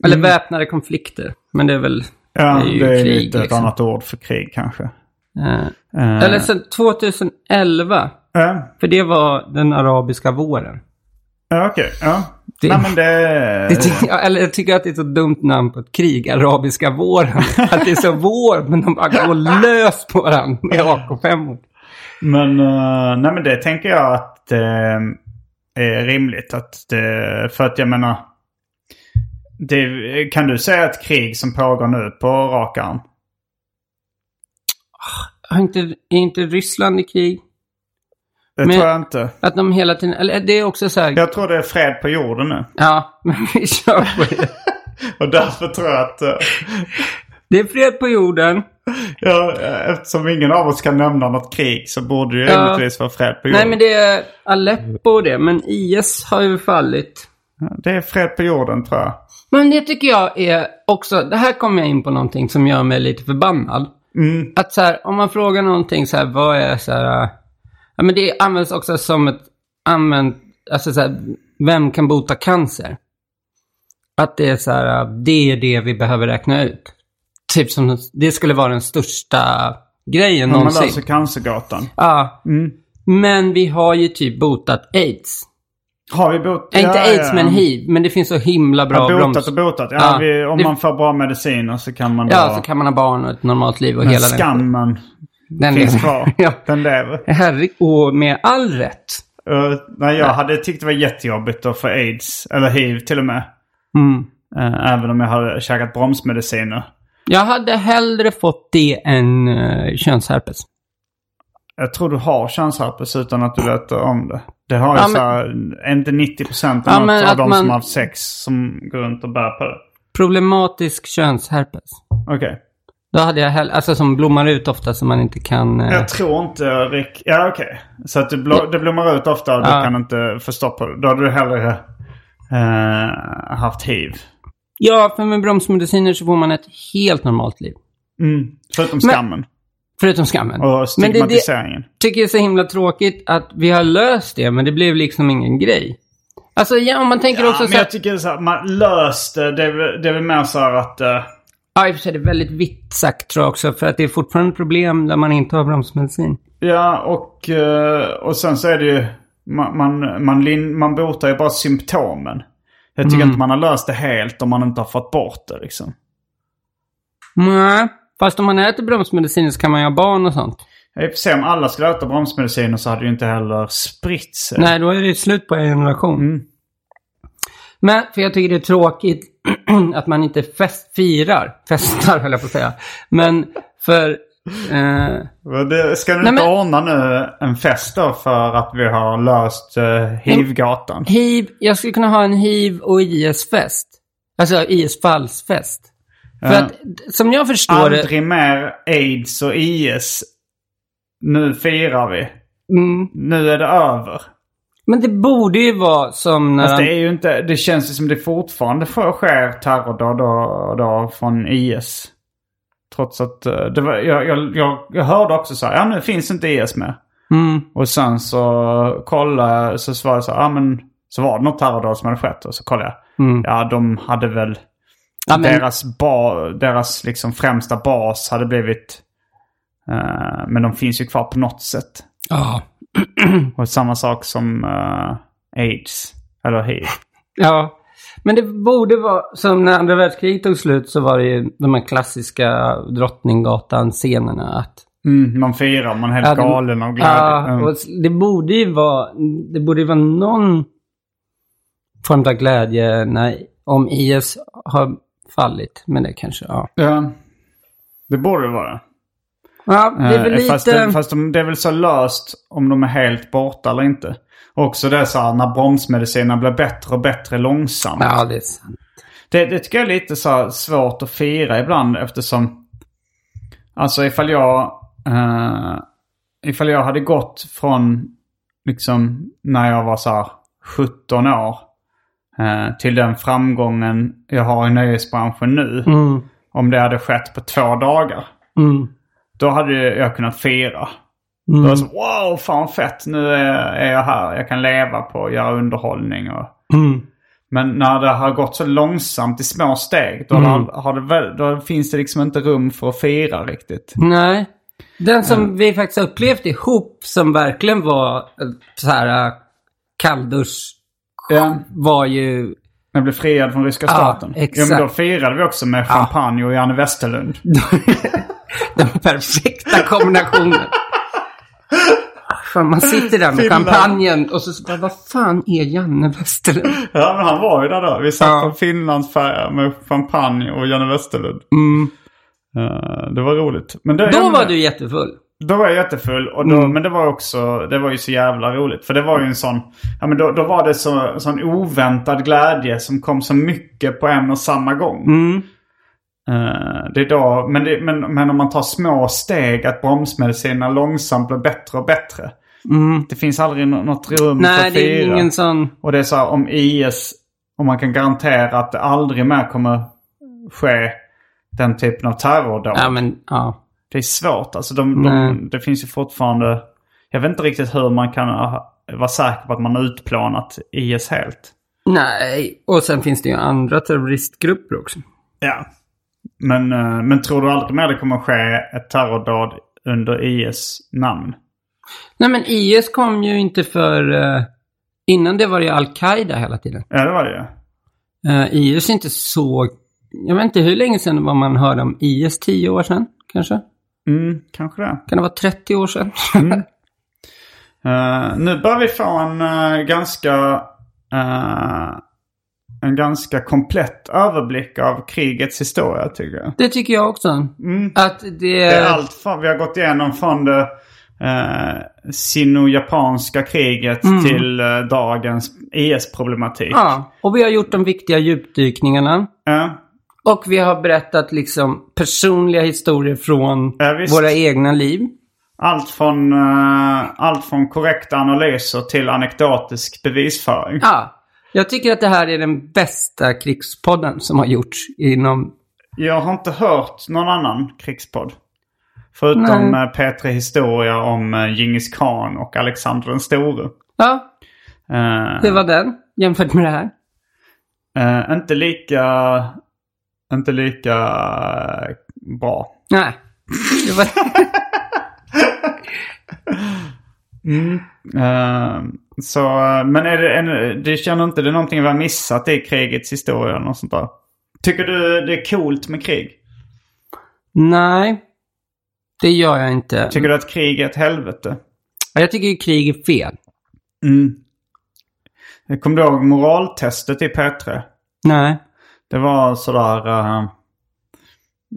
Eller väpnade konflikter, men det är väl... Ja, ju det är krig, lite ett liksom. annat ord för krig kanske. Eh, Eh, Eller sen 2011. Ja, För det var den arabiska våren. ja, okej. Ja. Det- Nej men det... Det ty- ja, eller jag tycker att det är ett så dumt namn på ett krig, arabiska våren. Att det är så vår, men de bara går lös på varandra med AK5. Men, eh, nej, men det tänker jag att eh, är rimligt. Att det, för att jag menar... Det, kan du säga ett krig som pågår nu på rak arm? Har inte, är inte Ryssland i krig? Det Men- tror jag inte. Att de hela tiden, eller det är också så här, ja, Jag tror det är fred på jorden nu. men vi kör på det. Och därför tror jag att... eh, Det är fred på jorden. Ja, eh, eftersom ingen av oss kan nämna något krig så borde det ju Ja. rimligtvis vara fred på jorden. Nej, men det är Aleppo och det, men IS har ju fallit. Det är fred på jorden tror jag. Men det tycker jag är också, det här kommer jag in på någonting som gör mig lite förbannad. Mm. Att så här, om man frågar någonting så här, vad är så här, äh, ja men det används också som ett, använt, alltså så här, vem kan bota cancer? Att det är så här, äh, det är det vi behöver räkna ut. Typ som, det skulle vara den största grejen När man någonsin. löser cancergatan. Ja. Men vi har ju typ botat aids. Har vi bot... Äh, inte Ja, aids ja. men hiv, men det finns så himla bra Ja, botat broms- och botat. Ja, Ja, vi, om det- man får bra mediciner så kan man Ja, då... så kan man ha barn och ett normalt liv och Men hela den. skammen den finns lever. kvar. ja. Den lever. Herre, och med all rätt. Uh, nej, jag hade tyckt det var jättejobbigt att få aids, eller hiv till och med. Eh, även om jag hade käkat bromsmediciner. Jag hade hellre fått det än uh, könsherpes. Jag tror du har könsherpes utan att du vet om det. Det har ju Ja, så här, är inte 90% Ja, av, men något av de att som man- har haft sex som går runt och bär på det. Problematisk könsherpes. Okej. Då hade jag hellre, alltså som blommar ut ofta som man inte kan... eh, Jag tror inte Rick... Ja, okej. Så att du blå... det blommar ut ofta och du Ja. kan inte få stopp på det. Då hade du hellre eh, haft hiv. Ja, för med bromsmediciner så får man ett helt normalt liv. Mm. Förutom skammen Förutom skammen. och men det, är det stigmatiseringen. tycker jag är så himla tråkigt att vi har löst det, men det blev liksom ingen grej. Alltså, ja, om man tänker Ja, också men så här... jag tycker så här, man löst eh, det. Det är, väl- det är väl mer så här att... eh, Ja, i och för sig, det är väldigt vitt sagt tror jag också, för att det är fortfarande problem där man inte har bromsmedicin. ja, och, eh, och sen så är det ju... Man, man, man, lin, man botar ju bara symptomen. Jag tycker Mm. inte man har löst det helt om man inte har fått bort det liksom. Nej, fast om man äter bromsmedicin så kan man ju ha barn och sånt. I och för sig om alla skulle äta bromsmediciner så hade det ju inte heller spritt sig. Nej, då är det slut på en generation. Mm. Men, för jag tycker det är tråkigt att man inte fest, firar, festar höll jag på att säga. Men för... Eh, Vad det- Ska du Nej, inte men- ordna nu en fest då för att vi har löst eh, hivgatan? hiv, jag skulle kunna ha en hiv och IS-fest. Alltså IS-fallsfest. För Ja. att, som jag förstår det... Aldrig mer aids och IS. Nu firar vi. Mm, Nu är det över. men det borde ju vara som när... Fast han- det är ju inte... Det känns ju som det fortfarande får- sker terrordåd då och då från IS. Trots att eh, det var, jag, jag, jag, jag hörde också så här, ja nu finns inte IS med. Mm. Och sen så kollade jag, så svarade jag så här, ja men så var det något terrordåd som hade skett. Och så kollade jag, ja de hade väl... Mm. Ja, men- Deras, ba, deras liksom främsta bas hade blivit... eh, men de finns ju kvar på något sätt. Ja. Och samma sak som eh, aids. Eller hiv. ja. Men det borde vara, som när andra världskriget tog slut så var det ju de här klassiska Drottninggatan-scenerna. Att Mm, man firar, man är helt Ja, det- galen av glädje. Ja, Mm. och det borde ju vara, det borde ju vara någon form av glädje när, om IS har fallit. Men det kanske, ja. Ja. Det borde det vara. Ja, det är väl Eh, lite... Fast, det, fast de, det är väl så löst om de är helt borta eller inte. Också det är så här när bromsmedicinerna blir bättre och bättre långsamt. Ja, det är sant. Det, det tycker jag är lite så här svårt att fira ibland eftersom... Alltså ifall jag... Eh, ifall jag hade gått från liksom när jag var så här 17 år eh, till den framgången jag har i nöjesbranschen nu. Om det hade skett på två dagar. Mm. Då hade jag kunnat fira. Då var det så, wow, fan fett. Nu är, är jag här. Jag kan leva på att göra underhållning och... Mm. Men när det har gått så långsamt i små steg, då, Mm. har, har det väl, då finns det liksom inte rum för att fira riktigt. Nej. Den som Mm. vi faktiskt har upplevt ihop som verkligen var eh, så här eh, kalldusch Ja. var ju... Jag blev friad från ryska staten. Ah, exakt. Ah. Ja, men då firade vi också med champagne och Janne Westerlund. Den perfekta kombinationen. Fan, man sitter där med Finland. champagnen och så så bara, vad fan är Janne Westerlund? Ja, men han var ju där då. Vi satt Ja. på Finlandsfärja med champagne och Janne Westerlund. Mm. Eh, det var roligt. Men det, Då var du jättefull. Då var jag jättefull. Och då, Mm. Men det var också, det var ju så jävla roligt. För det var ju en sån, ja men då, då var det så, sån oväntad glädje som kom så mycket på en och samma gång. Mm. Eh, det är då, men, det, men, men om man tar små steg att bromsmedicinerna långsamt blir bättre och bättre. Det finns aldrig nå- något rum för Mm. Nej, att det är fira. ingen sån... Och det är så här, om IS, om man kan garantera att det aldrig mer kommer ske den typen av terrordåd. Ja, men ja. Det är svårt. Alltså de, Nej. de, det finns ju fortfarande... Jag vet inte riktigt hur man kan ha- vara säker på att man har utplanat IS helt. Nej, och sen finns det ju andra terroristgrupper också. Ja. Men, eh, men tror du aldrig mer det kommer ske ett terrordåd under IS namn? Nej, men IS kom ju inte för... eh, innan det var det ju Al-Qaida hela tiden. Ja, det var det ju. Eh, IS är inte så... Jag vet inte hur länge sedan det var man hörde om IS. 10 år sedan, kanske? Mm, kanske det. Kan det vara 30 år sedan? Eh, nu börjar vi få en eh, ganska... eh, en ganska komplett överblick av krigets historia tycker jag. det tycker jag också. Att det... Mm. Det är allt från, vi har gått igenom från det eh, sino-japanska kriget till eh, dagens IS-problematik. Mm. Eh, Ja, och vi har gjort de viktiga djupdykningarna. Ja, Och vi har berättat liksom personliga historier från Ja, visst. våra egna liv. allt, från, eh, allt från korrekta analyser till anekdotisk bevisföring. Ja, jag tycker att det här är den bästa krigspodden som har gjorts inom... Jag har inte hört någon annan krigspodd. Förutom Nej. eh, P3 Historia om eh, Djingis Khan och Alexander den store. Ja, Eh, det var den jämfört med det här. eh, inte lika... Inte lika eh, bra. Nej. Det var... Eh, så, eh, men är det, en, du känner inte det är någonting vi har missat i krigets historia eller något sånt där? Tycker du det är coolt med krig? Nej, det gör jag inte. Tycker du att krig är ett helvete? Ja, Jag tycker ju krig är fel. Jag kommer du ihåg moraltestet i P3? Nej. Det var sådär... Uh,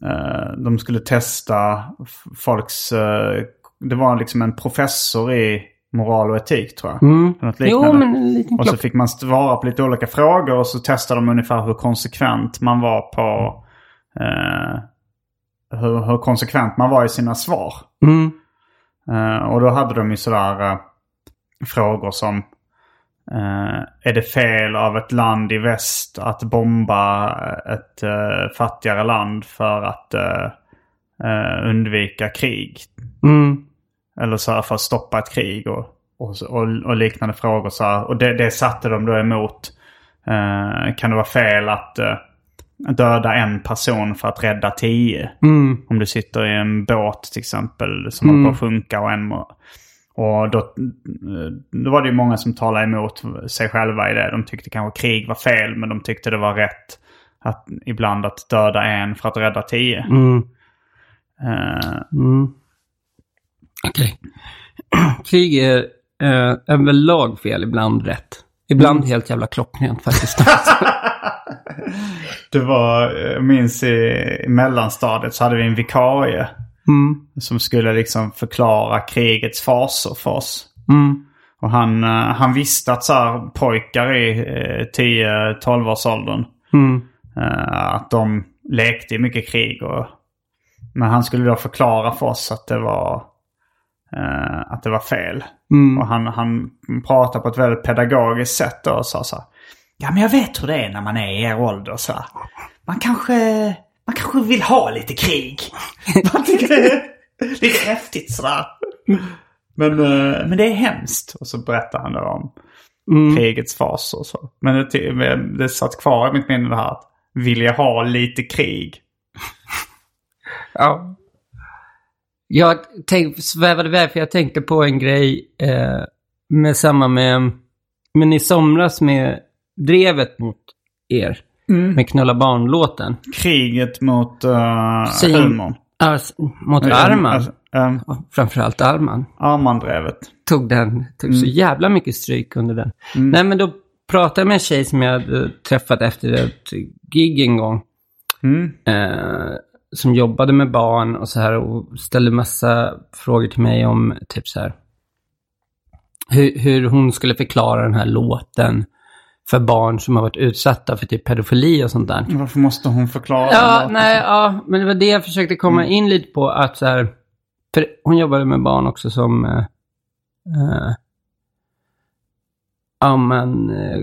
uh, de skulle testa f- folks... eh, det var liksom en professor i moral och etik tror jag. Mm. Något liknande. Jo, men en liten Och så klocka. fick man svara på lite olika frågor och så testade de ungefär hur konsekvent man var på... Eh, hur, hur konsekvent man var i sina svar. Mm. Eh, och då hade de ju sådär eh, frågor som... Eh, är det fel av ett land i väst att bomba ett eh, fattigare land för att eh, eh, undvika krig? Mm. Eller så här för att stoppa ett krig och, och, så- och, och liknande frågor. Så här. Och det, det satte de då emot. Eh, kan det vara fel att eh, döda en person för att rädda tio? Om du sitter i en båt till exempel som håller på att sjunka och en... må- Och då, eh, då var det ju många som talade emot sig själva i det. De tyckte kanske krig var fel, men de tyckte det var rätt att, ibland att döda en för att rädda tio. Mm. Eh, Mm. Okej. Krig är eh, överlag fel, ibland rätt. Ibland helt jävla klockrent faktiskt. Det var, eh, jag minns i mellanstadiet så hade vi en vikarie Mm. som skulle liksom förklara krigets faser för oss. Mm. Och han, eh, han visste att så här, pojkar i eh, 10-12-årsåldern Mm. eh, att de lekte i mycket krig. Och, men han skulle då förklara för oss att det var, eh, att det var fel. Mm. Och han, han pratar på ett väldigt pedagogiskt sätt då och sa så här, Ja men jag vet hur det är när man är i er ålder så här. Man kanske, man kanske vill ha lite krig. Man tycker det är lite häftigt sådär. Men, eh, men det är hemskt. Och så berättar han då om Mm. krigets faser och så. Men det, ty- men det satt kvar i mitt minne det här att vilja ha lite krig. Ja. Jag tänk, svävade iväg för jag tänkte på en grej eh, med samma med, men i somras med drevet mot er. Med Knulla barn-låten. Kriget mot uh, Sin- humorn. Alltså, mot Arman. Eh, eh, Framförallt Arman. Armandrevet. tog den, tog så jävla mycket stryk under den. Nej men då pratade jag med en tjej som jag hade träffat efter ett gig en gång. Mm. Eh, som jobbade med barn och så här och ställde massa frågor till mig om typ så här. Hur, hur hon skulle förklara den här låten för barn som har varit utsatta för typ pedofili och sånt där. Varför måste hon förklara? Ja, Mm. den då? nej, ja, men det var det jag försökte komma in lite på. Att så här, för hon jobbade med barn också som... eh, eh, ja, men, eh,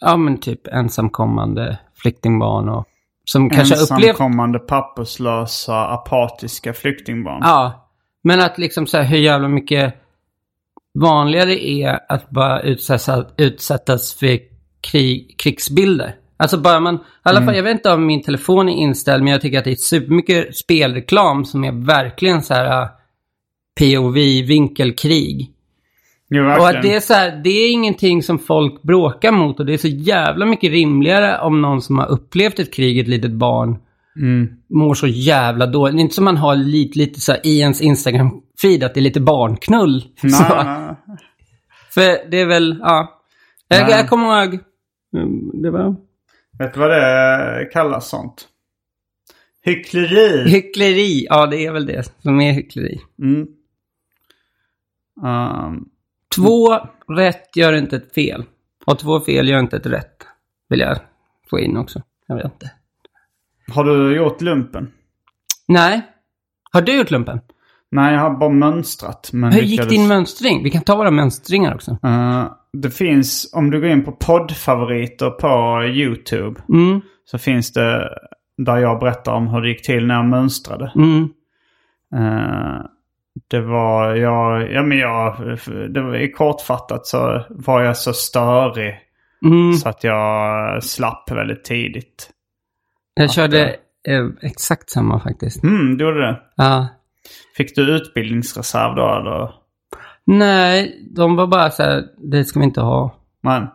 ja, men typ ensamkommande flyktingbarn och... Som kanske har upplevt... Ensamkommande, papperslösa, apatiska flyktingbarn. Ja, men att liksom så här, hur jävla mycket vanligare det är att bara utsättas, utsättas för krig, krigsbilder. Alltså bara man, i alla fall, jag vet inte om min telefon är inställd, men jag tycker att det är supermycket spelreklam som är verkligen så här äh, POV-vinkelkrig. Jo, Och verkligen. att det är så här, det är ingenting som folk bråkar mot och det är så jävla mycket rimligare om någon som har upplevt ett krig, ett litet barn, Mm. mår så jävla dåligt. Det är inte som man har lite, lite så här i ens Instagram-feed att det är lite barnknull. Nej, så. nej. För det är väl, ja. Jag, Nej. jag kommer ihåg. Mm, Det var Vet du vad det kallas sånt? Hyckleri. hyckleri. Ja, det är väl det som är hyckleri. Mm. Ehm, Två rätt gör inte ett fel. Och två fel gör inte ett rätt. Vill jag få in också. Jag vet inte. har du gjort lumpen? Nej. Har du gjort lumpen? Nej, jag har bara mönstrat. Men Hur gick lyckades- din mönstring? Vi kan ta våra mönstringar också. Eh, det finns, om du går in på poddfavoriter på YouTube, Mm, så finns det där jag berättar om hur det gick till när jag mönstrade. mm, Eh, Det var, jag, ja men jag, det var, i kortfattat så var jag så störig mm. så att jag slapp väldigt tidigt. Jag körde eh, exakt samma faktiskt. Mm, du gjorde det. Ja. Fick du utbildningsreserv då eller? Nej, de var bara så här, det ska vi inte ha. Nej.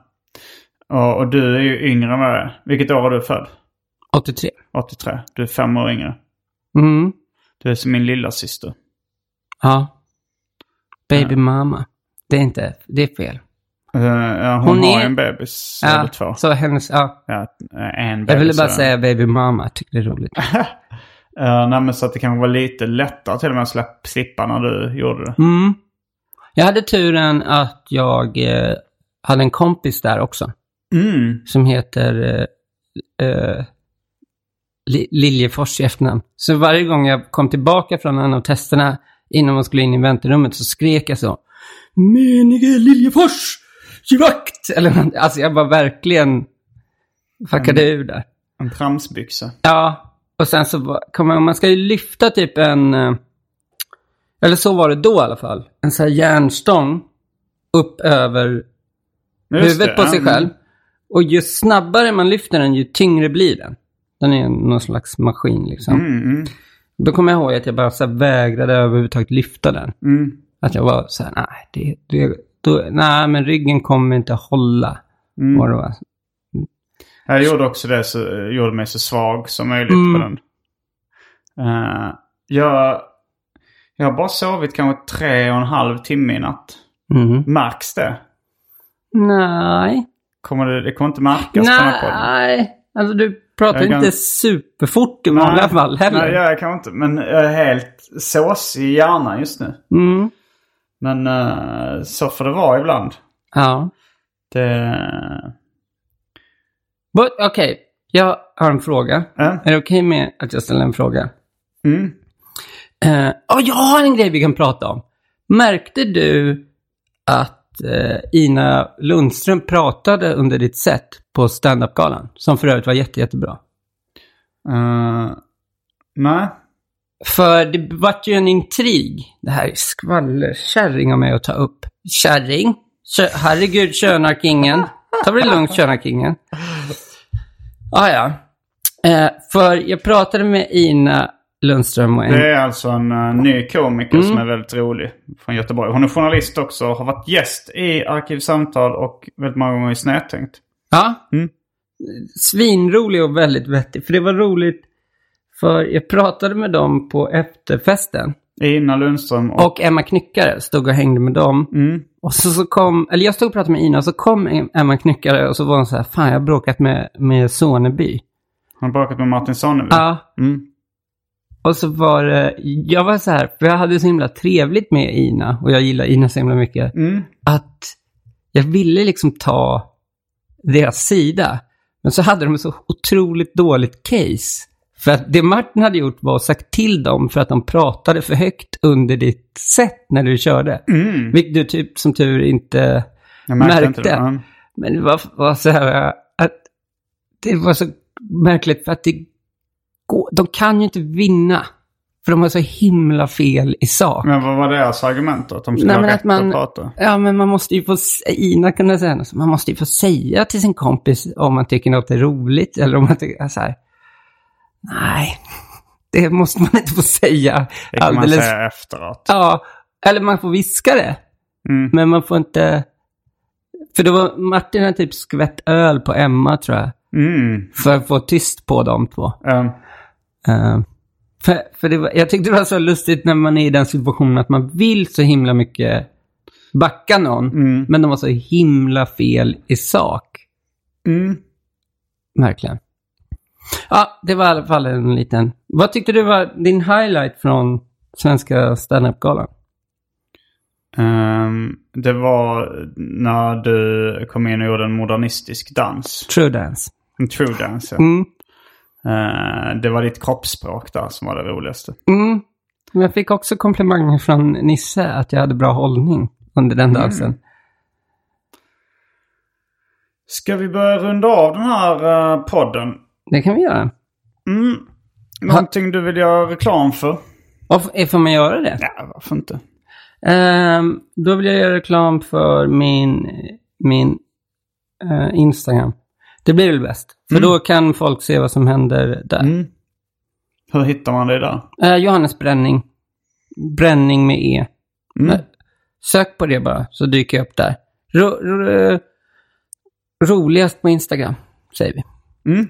Och, och du är ju yngre än vad jag är. Vilket år var du född? 83. 83. Du är fem år yngre. Mm. Du är som min lilla syster. Ja. Baby mama. Det är inte, det är fel. Eh, ja, hon, Hon har är- ju en bebis. eller Ja, två. så hennes, ja. Ja, en bebis. Jag ville bara så- säga baby mama, jag tyckte det är roligt. Eh, nej, men så att det kanske var lite lättare till och med att släpp- slippa när du gjorde det. Mm. Jag hade turen att jag eh, hade en kompis där också. Mm. som heter eh, eh, Li- Liljefors i efternamn. Så varje gång jag kom tillbaka från en av testerna innan man skulle in i väntrummet så skrek jag så. Menige Liljefors! Givakt! Eller nånt- Alltså jag var verkligen fuckade ur där. En tramsbyxa. Ja, och sen så var- kom jag, man ska ju lyfta typ en, eh, eller så var det då i alla fall, en sån här järnstång upp över Just huvudet det, på sig mm. själv. Och ju snabbare man lyfter den, ju tyngre blir den. Den är någon slags maskin liksom. Mm, mm, Då kommer jag ihåg att jag bara så här vägrade överhuvudtaget lyfta den. mm. Att jag var så här, nej, det, det, då, nej men ryggen kommer inte hålla. Var det, va? mm. Jag gjorde också det, så, gjorde mig så svag som möjligt Mm. på den. Eh, jag, jag har bara sovit kanske tre och en halv timme i natt. Mhm. Märks det? Nej. Kommer det, det kommer inte märkas på den här podden? Nej, alltså du pratar Jag inte kan- superfort i vanliga fall heller. Nej, jag kan inte. Men jag är helt sås i hjärnan just nu. Mm. Men eh, så får det vara ibland. Ja. Det... eh, But, Okej, jag har en fråga. Ja. Är det okej med att jag ställer en fråga? Mm. Eh, och jag har en grej vi kan prata om. Märkte du att eh, Ina Lundström pratade under ditt set på standup-galan? Som för övrigt var jätte, jättebra. Eh, nej. För det vart ju en intrig. Det här är skvallerkärring av mig att ta upp. Kärring? Kö- herregud, Tjörnarkingen. Ta det lugnt, Tjörnarkingen. Ah, ja. Eh, för jag pratade med Ina Lundström och en... Det är alltså en eh, ny komiker som Mm. är väldigt rolig från Göteborg. Hon är journalist också och har varit gäst i Arkivsamtal och väldigt många gånger i Snedtänkt. Ja. Mm. Svinrolig och väldigt vettig. För det var roligt. För jag pratade med dem på efterfesten. Ina Lundström och... Och Emma Knyckare stod och hängde med dem. Mm. Och så, så kom, eller jag stod och pratade med Ina och så kom Emma Knyckare och så var hon så här, fan jag har bråkat med, med Soneby. Hon har bråkat med Martin Sonneby. Ja. Mm. Och så var det, jag var så här, för jag hade så himla trevligt med Ina och jag gillar Ina så himla mycket. Mm. Att jag ville liksom ta deras sida. Men så hade de ett så otroligt dåligt case. För att det Martin hade gjort var att sagt till dem för att de pratade för högt under ditt sätt när du körde. Vilket du typ som tur inte Mm. Jag märkte, märkte. inte det. Mm. Men det var, var så här att det var så märkligt för att det går, de kan ju inte vinna. För de har så himla fel i sak. Men vad var deras argument då? Att de skulle Nej, ha men rätt att man, att prata? ja, men man måste ju få, s- Ina kunde säga något, så man måste ju få säga till sin kompis om man tycker något är roligt eller om man tycker så här. Nej, det måste man inte få säga. Det kan man säga efteråt. Ja, eller man får viska det. Mm. Men man får inte... För då var Martin hade typ skvätt öl på Emma, tror jag. Mm. För att få tyst på de två. Ehm, Eh, för för det var, jag tyckte det var så lustigt när man är i den situationen att man vill så himla mycket backa någon. Men de var så himla fel i sak. mm. Verkligen. Ja, det var i alla fall en liten... Vad tyckte du var din highlight från Svenska standup-galan? Ehm, det var när du kom in och gjorde en modernistisk dans. True Dance. En true dance. ja. Mm. Eh, det var ditt kroppsspråk där som var det roligaste. Mm. Men Jag fick också komplimanger från Nisse att jag hade bra hållning under den dansen. Ska vi börja runda av den här eh, podden? Det kan vi göra. Mm. Någonting du vill göra reklam för? Och f- får man göra det? Ja, varför inte? Ehm, då vill jag göra reklam för min, min eh, Instagram. Det blir väl bäst. För då kan folk se vad som händer där. Mm. Hur hittar man dig där? Eh, Johannes Bränning. Bränning med E. Mm. Eh, Sök på det bara, så dyker jag upp där. Ro, ro, roligast på Instagram, säger vi. Mm.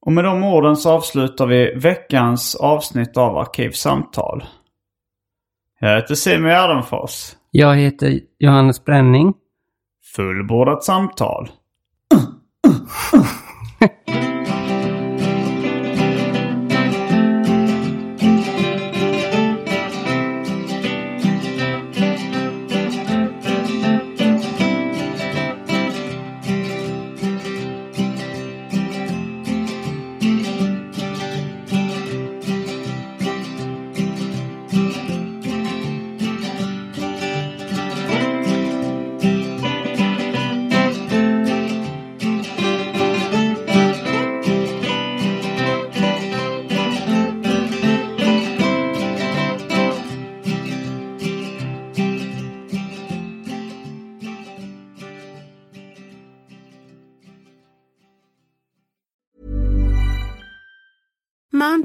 Och med de orden så avslutar vi veckans avsnitt av Arkivsamtal. Jag heter Simon Gärdenfors. Jag heter Johannes Bränning. Fullbordat samtal. Mom